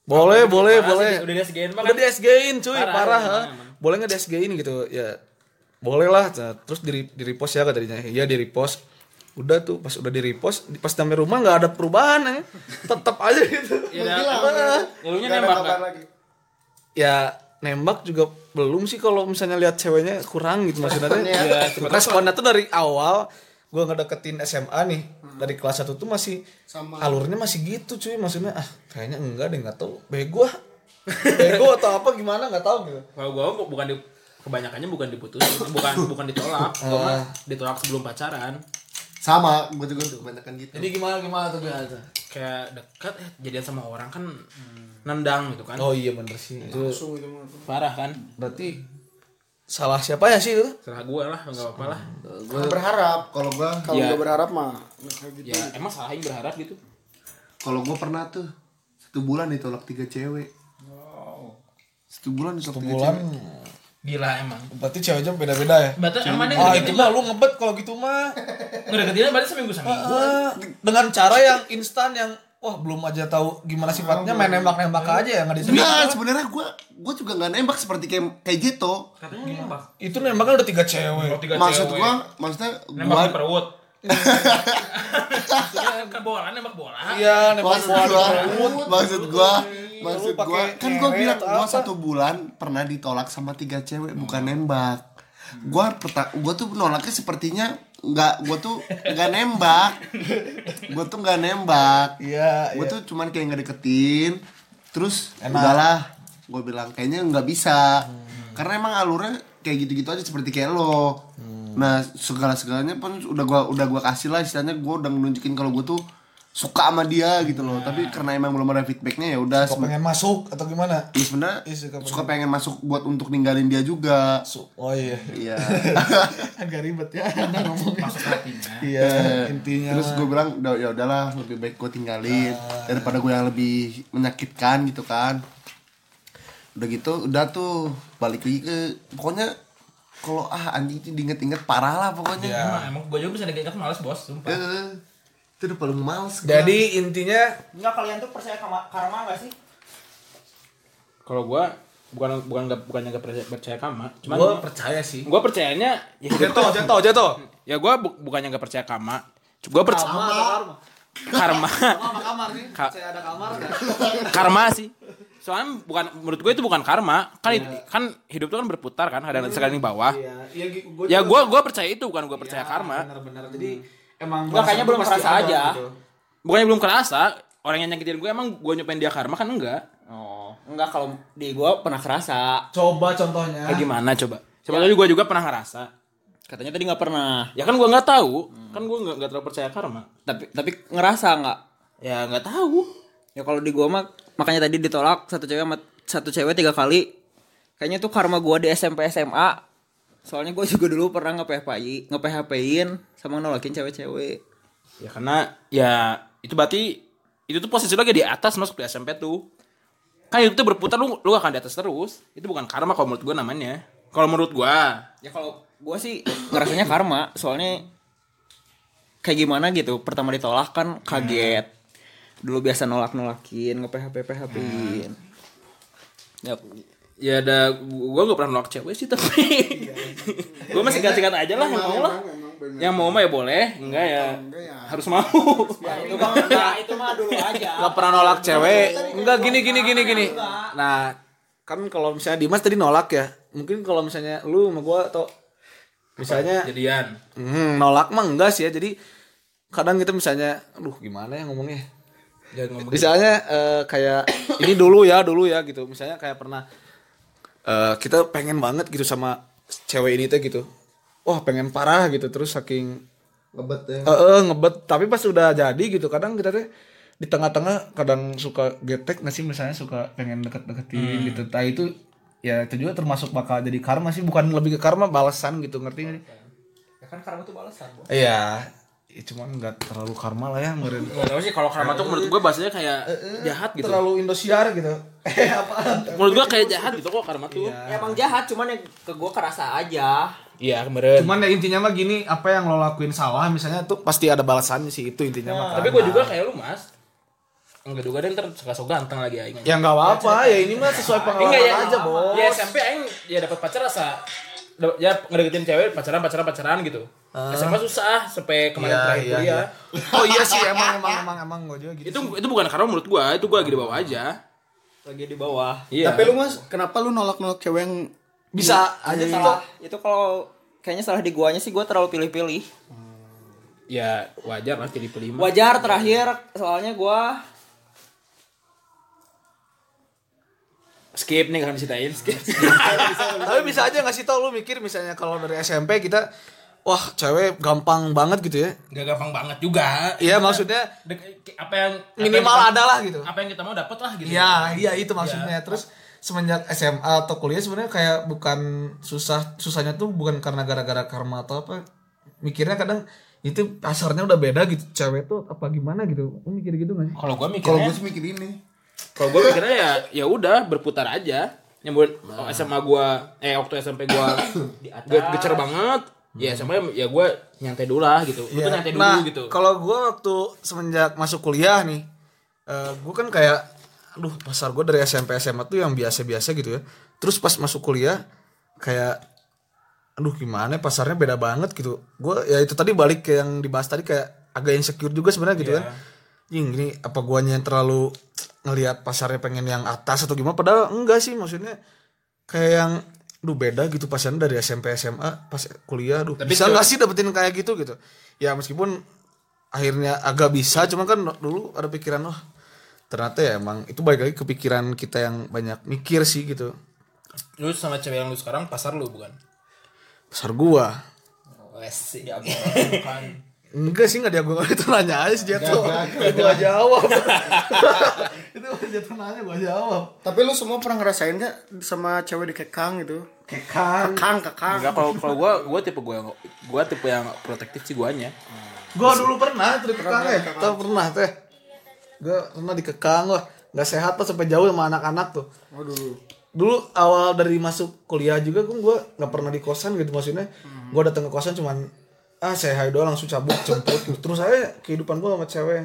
[SPEAKER 4] Boleh, boleh, boleh.
[SPEAKER 3] Udah dia segain
[SPEAKER 4] kan? Udah di SG-in cuy, parah. ha. boleh nggak di SG ini gitu ya boleh lah Nah, terus di, di repost ya katanya ya di repost udah tuh pas udah di repost di- pas sampai rumah nggak ada perubahan ya tetap aja gitu
[SPEAKER 2] Iya,
[SPEAKER 3] Ya, lu nya nembak nggak?
[SPEAKER 4] ya nembak juga belum sih kalau misalnya lihat ceweknya kurang gitu maksudnya
[SPEAKER 3] Iya, siapa tahu.
[SPEAKER 4] responnya tuh dari awal gue ngedeketin SMA nih dari kelas 1 tuh masih alurnya masih gitu cuy maksudnya ah kayaknya enggak deh nggak tahu bego ah. bego atau apa gimana nggak tahu gitu
[SPEAKER 3] Kalau gua bu- bukan di kebanyakannya bukan diputusin, bukan bukan ditolak, gua mah ditolak sebelum pacaran.
[SPEAKER 5] Sama, gue juga kebanyakan gitu.
[SPEAKER 4] jadi gimana gimana tuh gimana tuh
[SPEAKER 3] Kayak dekat eh, jadian sama orang kan nendang gitu kan.
[SPEAKER 4] oh iya bener sih itu
[SPEAKER 3] Parah kan?
[SPEAKER 4] berarti salah siapa ya sih itu
[SPEAKER 3] Serah gua lah, enggak apa-apa lah.
[SPEAKER 5] berharap kalau gue
[SPEAKER 2] Kalau
[SPEAKER 3] Iya.
[SPEAKER 2] nggak berharap mah
[SPEAKER 3] Ya, emang salah yang berharap gitu.
[SPEAKER 5] kalau gue pernah tuh satu bulan ditolak tiga cewek. Satu bulan ditolak tiga
[SPEAKER 4] bulan
[SPEAKER 5] cewek.
[SPEAKER 3] Gila emang.
[SPEAKER 4] berarti ceweknya beda-beda ya
[SPEAKER 3] Berarti emang
[SPEAKER 4] ah itu mah lu ngebet kalau gitu mah
[SPEAKER 3] ngedeketinnya berarti seminggu seminggu.
[SPEAKER 4] Wah, dengan cara yang instan yang wah belum aja tahu gimana sifatnya main nembak-nembak aja ya nggak
[SPEAKER 5] Enggak,
[SPEAKER 4] diterima.
[SPEAKER 5] Nah, sebenarnya gue gue juga nggak nembak seperti kayak kayak gitu.
[SPEAKER 3] Katanya lu nembak.
[SPEAKER 4] Itu nembaknya udah tiga cewek.
[SPEAKER 3] Tiga
[SPEAKER 5] Maksud
[SPEAKER 3] cewek.
[SPEAKER 5] gue, maksudnya
[SPEAKER 3] nembak di
[SPEAKER 5] gue
[SPEAKER 3] perut. ke Iya, bola nembak bola.
[SPEAKER 4] Iya, nembak
[SPEAKER 5] maksud
[SPEAKER 4] bola.
[SPEAKER 5] gua maksud gua maksud
[SPEAKER 4] Lu
[SPEAKER 5] gua
[SPEAKER 4] pakai
[SPEAKER 5] kan gua
[SPEAKER 4] cewek
[SPEAKER 5] bilang
[SPEAKER 4] atau
[SPEAKER 5] gua
[SPEAKER 4] apa?
[SPEAKER 5] satu bulan pernah ditolak sama tiga cewek bukan nembak gua peta, gua tuh nolaknya sepertinya nggak gua tuh nggak nembak gua tuh nggak nembak
[SPEAKER 4] Iya,
[SPEAKER 5] gua
[SPEAKER 4] iya.
[SPEAKER 5] tuh cuman kayak ngedeketin terus
[SPEAKER 4] Enak.
[SPEAKER 5] udahlah gua bilang kayaknya nggak bisa
[SPEAKER 4] Hmm.
[SPEAKER 5] karena emang alurnya kayak gitu-gitu aja seperti kayak lo
[SPEAKER 4] Hmm.
[SPEAKER 5] nah segala segalanya pun udah gua udah gua kasih lah istilahnya gua udah nunjukin kalau gua tuh suka sama dia gitu loh
[SPEAKER 4] Hmm.
[SPEAKER 5] tapi karena emang belum ada feedbacknya ya udah
[SPEAKER 4] Kok
[SPEAKER 5] seben-
[SPEAKER 4] pengen masuk atau gimana?
[SPEAKER 5] ya sebenarnya
[SPEAKER 4] Iya, suka
[SPEAKER 5] suka pengen masuk buat untuk ninggalin dia juga
[SPEAKER 4] Masuk. Oh iya.
[SPEAKER 5] iya
[SPEAKER 4] Agak ribet ya ngomongnya.
[SPEAKER 3] Hatinya.
[SPEAKER 4] Iya, intinya.
[SPEAKER 5] terus gue bilang "Udah, ya udahlah lebih baik gue tinggalin daripada gue yang lebih menyakitkan gitu kan udah gitu udah tuh balik lagi ke pokoknya kalau ah anjing itu diinget-inget parah lah pokoknya
[SPEAKER 3] Emang, emang gue juga bisa diingat males bos, sumpah.
[SPEAKER 5] Eh, itu udah paling males gua.
[SPEAKER 4] Jadi intinya
[SPEAKER 8] Enggak kalian tuh percaya kama- karma gak sih?
[SPEAKER 3] Kalau gua bukan bukan nggak bukan nggak percaya, percaya kama, cuman
[SPEAKER 4] gue percaya sih.
[SPEAKER 3] gua percayanya ya,
[SPEAKER 4] Jatuh, jatuh, jatuh.
[SPEAKER 3] ya gua bu, bukannya nggak percaya kama, gua percaya karma. Ka- karma sih. Soalnya bukan menurut gue itu bukan karma, kan hid- kan hidup itu kan berputar kan, kadang sekali di bawah.
[SPEAKER 4] Iya, gue
[SPEAKER 3] Ya gua gua percaya itu bukan gua
[SPEAKER 4] Ya,
[SPEAKER 3] percaya karma.
[SPEAKER 4] benar-benar. Ah, Jadi emang
[SPEAKER 8] Enggak kayaknya belum
[SPEAKER 4] pasti
[SPEAKER 8] merasa
[SPEAKER 4] ada
[SPEAKER 8] aja.
[SPEAKER 4] gitu.
[SPEAKER 3] Bukannya belum kerasa, orang yang nyakitin gue emang gue nyopain dia karma kan enggak.
[SPEAKER 8] Oh, enggak kalau di gua pernah kerasa.
[SPEAKER 4] Coba contohnya.
[SPEAKER 3] Kayak Ya gimana coba? Coba tadi gue juga pernah ngerasa.
[SPEAKER 8] Katanya tadi nggak pernah.
[SPEAKER 3] Ya kan gue nggak tahu, kan gue nggak nggak terlalu percaya karma.
[SPEAKER 8] Tapi tapi ngerasa nggak?
[SPEAKER 3] Ya nggak tahu.
[SPEAKER 8] Ya kalau di gua mah makanya tadi ditolak satu cewek sama satu cewek tiga kali. Kayaknya tuh karma gua di SMP SMA. Soalnya gua juga dulu pernah nge-PHP-in, nge-PHP-in sama nolakin cewek-cewek.
[SPEAKER 3] Ya karena ya itu berarti itu tuh posisi lu lagi di atas masuk di SMP tuh. Kan itu tuh berputar lu lu akan di atas terus. Itu bukan karma kalau menurut gue namanya. Kalau menurut gue
[SPEAKER 8] Ya kalau gua sih ngerasanya karma, soalnya kayak gimana gitu. Pertama ditolak kan kaget. Dulu biasa nolak-nolakin, nge-PHP-PHP-in.
[SPEAKER 3] ya ya ada gue gak pernah nolak cewek sih tapi gue masih sikat-sikat aja lah yang mau lah yang mau mah ya boleh enggak ya harus mau
[SPEAKER 8] itu mah dulu aja.
[SPEAKER 4] Gak pernah nolak
[SPEAKER 3] kan
[SPEAKER 4] cewek. Enggak gini gini gini gini. Nah, kan kalau misalnya Dimas tadi nolak ya. Mungkin kalau misalnya lu sama gua atau misalnya
[SPEAKER 3] jadian
[SPEAKER 4] hmm, nolak mah enggak sih ya. Jadi kadang kita misalnya aduh gimana ya ngomongnya.
[SPEAKER 3] jangan ngomong
[SPEAKER 4] Misalnya eh, kayak ini dulu ya, dulu ya gitu. Misalnya kayak pernah eh, kita pengen banget gitu sama cewek ini teh gitu. Wah, pengen parah gitu terus saking
[SPEAKER 5] ngebet ya
[SPEAKER 4] Eh, eh, ngebet tapi pas udah jadi gitu kadang kita tuh di tengah-tengah kadang suka getek nggak sih misalnya suka pengen
[SPEAKER 5] Hmm.
[SPEAKER 4] deket-deketin gitu nah itu ya itu juga termasuk bakal jadi karma sih bukan lebih ke karma balasan gitu ngerti nggak sih ya kan karma tuh balasan iya ya, cuman nggak terlalu karma lah ya meren
[SPEAKER 3] Gak tau sih kalau karma tuh menurut gue bahasanya kayak jahat gitu
[SPEAKER 4] terlalu indosiar gitu eh apaan
[SPEAKER 3] menurut gue kayak jahat gitu kok karma tuh
[SPEAKER 8] Emang jahat, cuman yang ke gua kerasa aja.
[SPEAKER 3] iya kemarin
[SPEAKER 4] cuman ya intinya mah gini apa yang lo lakuin salah misalnya tuh pasti ada balasannya sih itu intinya mah
[SPEAKER 3] tapi gue juga kayak lu mas Enggak duga deh ntar suka so ganteng lagi aing.
[SPEAKER 4] Ya nggak apa-apa, ya ini mah sesuai pengalaman
[SPEAKER 3] Enggak ya,
[SPEAKER 4] aja, Bos.
[SPEAKER 3] Ya SMP aing ya dapat pacar rasa da- ya ngedeketin cewek pacaran pacaran pacaran gitu. SMA susah sampai kemarin
[SPEAKER 4] Ah. Iya,
[SPEAKER 3] terakhir
[SPEAKER 4] iya,
[SPEAKER 3] kuliah.
[SPEAKER 4] Oh iya sih, emang emang emang emang gue juga gitu.
[SPEAKER 3] Itu itu bukan karena menurut gua, itu gua lagi di bawah aja.
[SPEAKER 8] lagi di bawah
[SPEAKER 3] Iya.
[SPEAKER 2] Tapi lu mas, kenapa lu nolak-nolak cewek yang
[SPEAKER 4] Bisa aja
[SPEAKER 8] itu
[SPEAKER 4] salah.
[SPEAKER 8] itu kalau kayaknya salah di guanya sih gua terlalu pilih-pilih
[SPEAKER 3] ya wajar lah pilih-pilih. mah.
[SPEAKER 8] wajar terakhir soalnya gua
[SPEAKER 3] Skip nih kan diceritain, skip.
[SPEAKER 4] Ya, Tapi bisa aja ngasih tau lu mikir misalnya kalau dari SMP kita wah cewek gampang banget gitu ya.
[SPEAKER 3] Gak gampang banget juga.
[SPEAKER 4] Iya maksudnya
[SPEAKER 3] Dek- apa yang apa yang
[SPEAKER 4] minimal
[SPEAKER 3] kita-
[SPEAKER 4] adalah gitu.
[SPEAKER 3] Apa yang kita mau dapat lah gitu.
[SPEAKER 4] Iya, iya itu maksudnya. Terus semenjak SMA atau kuliah sebenarnya kayak bukan susah susahnya tuh bukan karena gara-gara karma atau apa. Mikirnya kadang itu pasarnya udah beda gitu. Cewek tuh apa gimana gitu. Lu mikir gitu gak sih?
[SPEAKER 3] Kalau gua mikirnya
[SPEAKER 1] Kalau gue sih mikir ini.
[SPEAKER 3] Kalau gue mikirnya ya ya udah berputar aja. Yang buat SMA gua eh waktu SMP gua ge- gecer banget. Ya SMA ya gua nyantai dulu lah gitu. Lu tuh nyantai dulu
[SPEAKER 4] nah,
[SPEAKER 3] gitu.
[SPEAKER 4] Kalau gue waktu semenjak masuk kuliah nih, gue kan kayak, aduh pasar gue dari SMP SMA tuh yang biasa-biasa gitu ya. Terus pas masuk kuliah kayak, aduh gimana ya, pasarnya beda banget gitu. Gue ya itu tadi balik ke yang dibahas tadi kayak agak insecure juga sebenarnya gitu kan. Jing, ini apa guanya yang terlalu ngelihat pasarnya pengen yang atas atau gimana? Padahal enggak sih maksudnya kayak yang duh beda gitu pasarnya dari SMP SMA pas kuliah duh bisa nggak sih dapetin kayak gitu gitu ya meskipun akhirnya agak bisa cuman kan dulu ada pikiran wah ternyata ya emang itu balik lagi ke pikiran kita yang banyak mikir sih gitu
[SPEAKER 3] Lu sama cewek yang lu sekarang pasar lu bukan?
[SPEAKER 4] pasar gua
[SPEAKER 3] Wes
[SPEAKER 4] enggak sih nggak dia gua itu nanya aja sih dia tuh gua jawab itu dia tuh nanya gua jawab
[SPEAKER 2] Tapi lu semua pernah ngerasain gak sama cewek dikekang gitu? Kekang. Kekang, kekang.
[SPEAKER 3] Enggak kalau kalau gua gua tipe gua yang- gua tipe yang protektif sih guanya.
[SPEAKER 4] gua dulu pernah tuh dikekang ya tau pernah teh gua pernah dikekang wah nggak sehat tuh sampai jauh sama anak-anak tuh
[SPEAKER 2] Oh dulu.
[SPEAKER 4] dulu awal dari masuk kuliah juga kan gue nggak pernah di kosan gitu maksudnya
[SPEAKER 2] Hmm.
[SPEAKER 4] gue datang ke kosan cuman ah saya hai doang langsung cabut jemput gitu. terus saya kehidupan gue sama cewek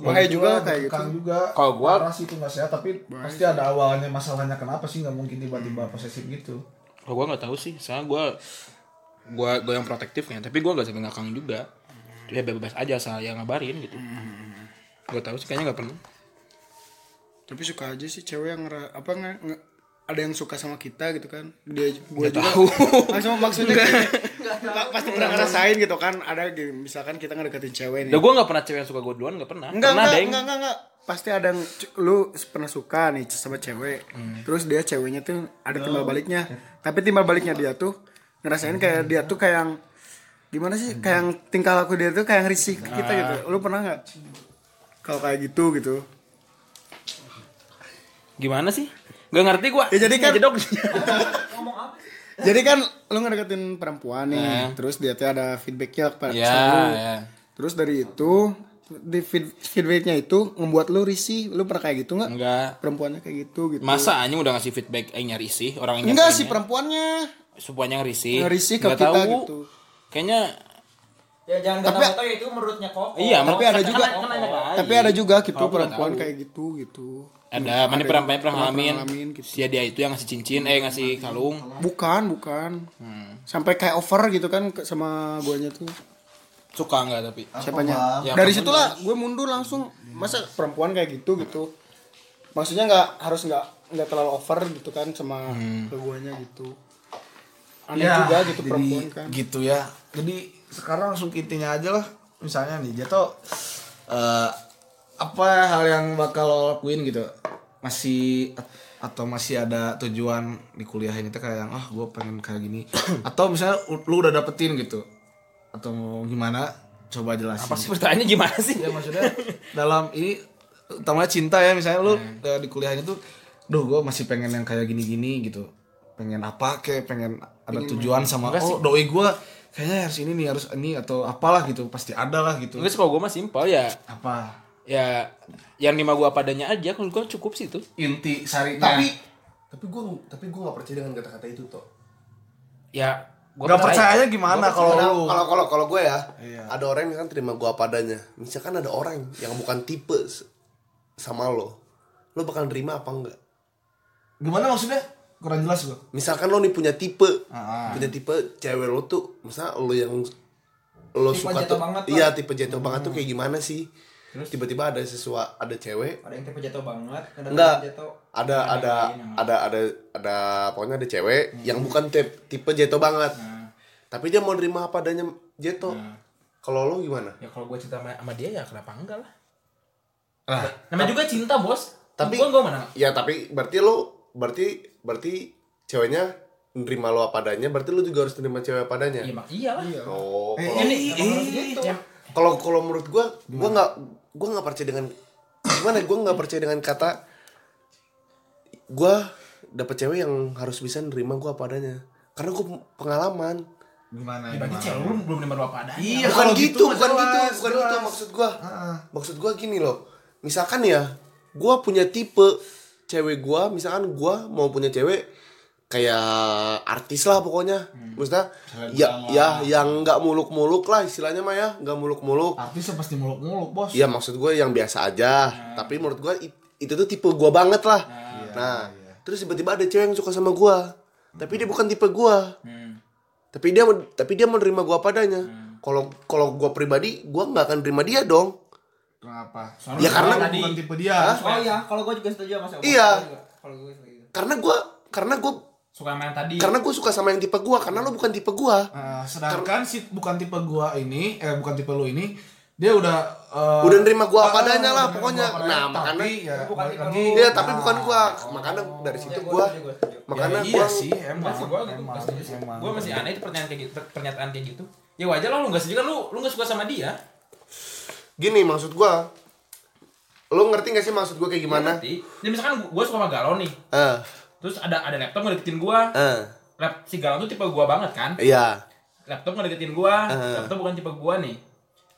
[SPEAKER 2] Makanya juga kayak gitu.
[SPEAKER 4] Kang juga
[SPEAKER 3] Kalau gua-
[SPEAKER 4] parah sih itu nggak sehat tapi pasti ada awalnya masalahnya kenapa sih nggak mungkin tiba-tiba posesif gitu
[SPEAKER 3] Kalau gua nggak tahu sih, soalnya gua gua gua yang protektifnya, tapi gua gak sampai ngakang juga. Ya bebas aja asal yang ngabarin gitu. Gua tahu sih kayaknya nggak pernah.
[SPEAKER 2] Tapi suka aja sih cewek yang ngera- apa nge- nge- ada yang suka sama kita gitu kan. Dia gua juga. Maksud, maksudnya kayak- Pa- pasti pernah ngerasain gitu kan ada gitu, misalkan kita ngedeketin cewek nih.
[SPEAKER 3] Ya gue gak pernah cewek yang suka gue duluan gak pernah
[SPEAKER 2] Enggak,
[SPEAKER 3] Pernah
[SPEAKER 2] enggak,
[SPEAKER 3] deng
[SPEAKER 2] enggak, enggak, enggak. Pasti ada yang c- lu pernah suka nih sama cewek.
[SPEAKER 3] Hmm.
[SPEAKER 2] Terus dia ceweknya tuh
[SPEAKER 3] Oh.
[SPEAKER 2] ada timbal baliknya. Tapi timbal baliknya dia tuh ngerasain kayak dia tuh kayak yang gimana sih? Kayak yang tingkah laku dia tuh kayak yang risih ke kita gitu.
[SPEAKER 3] Ah.
[SPEAKER 2] Lu pernah nggak? Kalau kayak gitu gitu.
[SPEAKER 3] Gimana sih? Gak ngerti gue
[SPEAKER 2] Ya, jadi kan-
[SPEAKER 3] Ngejedok.
[SPEAKER 2] Jadi kan lu ngedeketin perempuan
[SPEAKER 3] Eh.
[SPEAKER 2] nih, terus dia tuh ada feedbacknya kepada
[SPEAKER 3] Ya
[SPEAKER 2] sama lu.
[SPEAKER 3] ya.
[SPEAKER 2] Terus dari itu di feed- feedbacknya itu membuat lu risih. Lu pernah kayak gitu nggak?
[SPEAKER 3] Enggak
[SPEAKER 2] Perempuannya kayak gitu gitu.
[SPEAKER 3] Masa anjing udah ngasih feedback Aing nyari sih Orang yang
[SPEAKER 2] Enggak sih perempuannya.
[SPEAKER 3] Supaya ngerisi
[SPEAKER 2] Ngerisih ke kita gitu.
[SPEAKER 3] Kayaknya
[SPEAKER 8] ya jangan
[SPEAKER 2] Tapi-
[SPEAKER 8] kata-kata ya, itu menurutnya kok
[SPEAKER 3] Iya
[SPEAKER 2] Tapi
[SPEAKER 3] menurut-
[SPEAKER 2] ada
[SPEAKER 3] kan-
[SPEAKER 2] juga-
[SPEAKER 3] kan- kan nanya ke Aing.
[SPEAKER 2] Tapi ada juga gitu
[SPEAKER 3] Kalau aku nggak
[SPEAKER 2] perempuan
[SPEAKER 3] tahu.
[SPEAKER 2] kayak gitu gitu.
[SPEAKER 3] Ada Mana pernah pernah pernah ngalamin
[SPEAKER 2] ngalamin gitu.
[SPEAKER 3] Si Iya, dia itu yang ngasih cincin Eh ngasih kalung
[SPEAKER 2] Bukan, bukan.
[SPEAKER 3] Hmm.
[SPEAKER 2] Sampai kayak over gitu kan ke- sama guanya tuh.
[SPEAKER 3] Suka gak tapi
[SPEAKER 2] Siapanya?
[SPEAKER 3] Ya,
[SPEAKER 2] Dari
[SPEAKER 3] perempuan
[SPEAKER 2] situlah gue mundur langsung. Masa perempuan kayak gitu gitu. Maksudnya nggak harus nggak nggak terlalu over gitu kan sama
[SPEAKER 3] Hmm.
[SPEAKER 2] ke guanya gitu. Aneh
[SPEAKER 4] Ya,
[SPEAKER 2] juga gitu
[SPEAKER 4] jadi
[SPEAKER 2] perempuan kan.
[SPEAKER 4] gitu ya jadi sekarang langsung ke intinya aja lah misalnya nih jatuh eh apa hal yang bakal lo lakuin gitu masih at- atau masih ada tujuan di kuliah ini tuh kayak yang ah gue pengen kayak gini atau misalnya u- lu udah dapetin gitu atau mau gimana coba jelasin
[SPEAKER 3] Apa sih pertanyaannya gimana sih?
[SPEAKER 2] Iya,
[SPEAKER 4] ya maksudnya dalam ini utamanya cinta ya misalnya lu eh, di kuliah ini tuh duh gue masih pengen yang kayak gini-gini gitu pengen apa kayak pengen ada tujuan sama oh doi gue kayaknya harus ini nih harus ini atau apalah gitu pasti ada lah gitu
[SPEAKER 3] Enggak sih kalau gue mah simpel ya
[SPEAKER 4] apa
[SPEAKER 3] Ya Yang lima gue padanya aja Kalau gue cukup sih itu
[SPEAKER 4] inti sarinya
[SPEAKER 5] Tapi tapi gue tapi gue nggak percaya dengan kata-kata itu toh.
[SPEAKER 3] Ya gua
[SPEAKER 4] nggak
[SPEAKER 3] percaya.
[SPEAKER 4] percayanya gimana kalau lu
[SPEAKER 5] kalau Iya. kalau kalau gue ya, ada orang yang kan terima gue padanya. Misalkan ada orang yang bukan tipe sama lo, lo bakal nerima apa enggak?
[SPEAKER 7] Gimana maksudnya? Kurang jelas gua.
[SPEAKER 5] Misalkan lo nih punya tipe,
[SPEAKER 8] Ah.
[SPEAKER 5] punya tipe cewek lo tuh, misal lo yang lo
[SPEAKER 7] Tipe
[SPEAKER 5] suka
[SPEAKER 7] jatuh
[SPEAKER 5] tuh,
[SPEAKER 7] banget
[SPEAKER 5] iya tipe jatuh banget tuh kayak gimana sih? Tiba-tiba ada sesuatu, ada cewek,
[SPEAKER 8] Hmm. Ada yang tipe jatuh banget, ada
[SPEAKER 5] Enggak.
[SPEAKER 8] yang jatuh.
[SPEAKER 5] ada ada ada ada ada pokoknya ada cewek
[SPEAKER 8] Hmm.
[SPEAKER 5] yang bukan tipe, tipe jeto banget tapi dia mau nerima apa adanya jeto
[SPEAKER 8] Hmm.
[SPEAKER 5] kalau lo gimana
[SPEAKER 3] Ya kalau gue cinta sama, sama dia ya kenapa enggak lah. Namanya juga cinta bos.
[SPEAKER 5] Tapi-
[SPEAKER 3] gue gue mana?
[SPEAKER 5] ya tapi berarti lo berarti berarti ceweknya nerima lo apa adanya berarti lo juga harus nerima cewek apa adanya
[SPEAKER 3] Iya mak iya lah.
[SPEAKER 7] Eh,
[SPEAKER 5] oh kalau-
[SPEAKER 4] Iya,
[SPEAKER 7] ini
[SPEAKER 5] gitu.
[SPEAKER 7] Iya.
[SPEAKER 5] kalau kalau menurut gua gua nggak gua nggak percaya dengan gimana gua nggak percaya dengan kata gua dapet cewek yang harus bisa nerima gua apa adanya karena gua pengalaman
[SPEAKER 7] gimana?
[SPEAKER 3] Ya, Berarti cewek lu belum nerima lu apa adanya.
[SPEAKER 7] Iya,
[SPEAKER 5] bukan
[SPEAKER 7] kalau
[SPEAKER 5] gitu,
[SPEAKER 7] mah
[SPEAKER 5] bukan gitu,
[SPEAKER 7] jelas,
[SPEAKER 5] bukan
[SPEAKER 7] jelas.
[SPEAKER 5] gitu maksud gua.
[SPEAKER 7] Heeh.
[SPEAKER 5] Maksud gua gini loh. Misalkan ya, gua punya tipe cewek gua, misalkan gua mau punya cewek kayak artis lah pokoknya.
[SPEAKER 7] Hmm.
[SPEAKER 5] Maksudnya ya ya yang nggak muluk-muluk lah istilahnya mah ya, nggak muluk-muluk.
[SPEAKER 4] ya
[SPEAKER 7] Artis pasti muluk-muluk, Bos.
[SPEAKER 5] Iya maksud gue yang biasa aja.
[SPEAKER 8] Nah.
[SPEAKER 5] Tapi menurut gue it- itu tuh tipe gue banget lah. Nah,
[SPEAKER 8] Iya,
[SPEAKER 5] terus tiba-tiba ada cewek yang suka sama gue, tapi dia bukan tipe gue.
[SPEAKER 8] Hmm.
[SPEAKER 5] Tapi dia tapi dia menerima gue padanya. Kalau kalau gue pribadi, gue nggak akan terima dia dong.
[SPEAKER 7] Kenapa?
[SPEAKER 5] Ya, karena-
[SPEAKER 7] Soalnya bukan tipe dia.
[SPEAKER 8] Oh iya, kalau gue juga setuju sama Mas Omar.
[SPEAKER 5] Iya.
[SPEAKER 8] Gua gitu. juga. Kalau gue setuju.
[SPEAKER 5] Karena gue karena gue
[SPEAKER 3] Suka main tadi.
[SPEAKER 5] karena gue suka sama yang tipe gue. Karena lo bukan tipe gue.
[SPEAKER 7] Nah, sedangkan si bukan tipe gua ini, eh bukan tipe lu ini, dia udah eh,
[SPEAKER 5] Udah nerima gua apa
[SPEAKER 7] ah,
[SPEAKER 5] adanya lah,
[SPEAKER 7] udah nerima
[SPEAKER 5] pokoknya.
[SPEAKER 7] gua apa adanya,
[SPEAKER 5] Nah, makanya-
[SPEAKER 7] tapi ya,
[SPEAKER 8] Bukan
[SPEAKER 7] balik
[SPEAKER 8] tipe
[SPEAKER 7] lagi.
[SPEAKER 8] lu.
[SPEAKER 5] Iya, tapi
[SPEAKER 7] Nah,
[SPEAKER 5] bukan gue. Makanya dari situ
[SPEAKER 8] Iya, gua
[SPEAKER 5] gue.
[SPEAKER 8] setuju, gua setuju.
[SPEAKER 5] Makanya
[SPEAKER 7] ya,
[SPEAKER 5] gue.
[SPEAKER 7] iya sih, emang.
[SPEAKER 3] gue
[SPEAKER 7] emang, emang.
[SPEAKER 3] gue masih aneh itu pernyataan kayak gitu pernyataan kayak gitu ya wajar lah lu nggak setuju kan lu lu nggak suka sama dia
[SPEAKER 5] Gini maksud gue. Lo ngerti gak sih maksud gue kayak gimana?
[SPEAKER 3] Berarti, ya misalkan gue suka sama galau nih
[SPEAKER 8] Iya.
[SPEAKER 5] Eh,
[SPEAKER 3] terus ada ada laptop ngedeketin gue
[SPEAKER 5] eh,
[SPEAKER 3] lap si galau tuh tipe gue banget kan
[SPEAKER 5] iya.
[SPEAKER 3] laptop ngedeketin gue
[SPEAKER 5] Eh.
[SPEAKER 3] laptop bukan tipe gue nih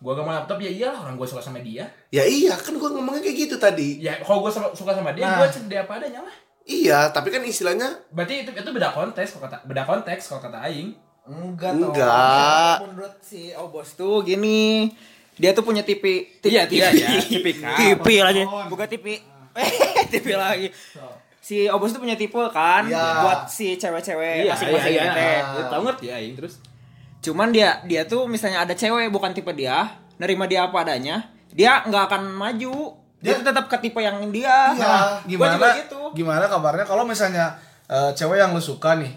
[SPEAKER 3] gue gak mau laptop ya iyalah orang gue suka sama dia
[SPEAKER 5] Ya iya kan gue ngomongnya kayak gitu tadi.
[SPEAKER 3] ya kalau gue suka sama dia
[SPEAKER 7] Nah.
[SPEAKER 3] gue sedih apa adanya lah
[SPEAKER 5] Iya tapi kan istilahnya
[SPEAKER 3] berarti itu itu beda konteks kalau kata beda konteks kalau kata Aing
[SPEAKER 8] Enggak toh.
[SPEAKER 5] Enggak.
[SPEAKER 8] Menurut si Obos Oh, tuh gini. Dia tuh punya tipi tipi
[SPEAKER 3] Iya, iya, iya, tipikal.
[SPEAKER 8] tipi lagi. Bukan tipi. Eh, tipi lagi. Si Obos tuh punya tipe kan buat si cewek-cewek masing-masing
[SPEAKER 3] iya,
[SPEAKER 8] teh.
[SPEAKER 7] Ah.
[SPEAKER 3] iya. tahu ngerti ya Aing terus
[SPEAKER 8] Cuman dia dia tuh misalnya ada cewek bukan tipe dia, nerima dia apa adanya, dia nggak akan maju. Dia tetap ke tipe yang dia.
[SPEAKER 4] Iya.
[SPEAKER 7] Nah,
[SPEAKER 8] Gua
[SPEAKER 7] gimana
[SPEAKER 8] juga gitu.
[SPEAKER 7] gimana kabarnya kalau misalnya eh, cewek yang lu suka nih,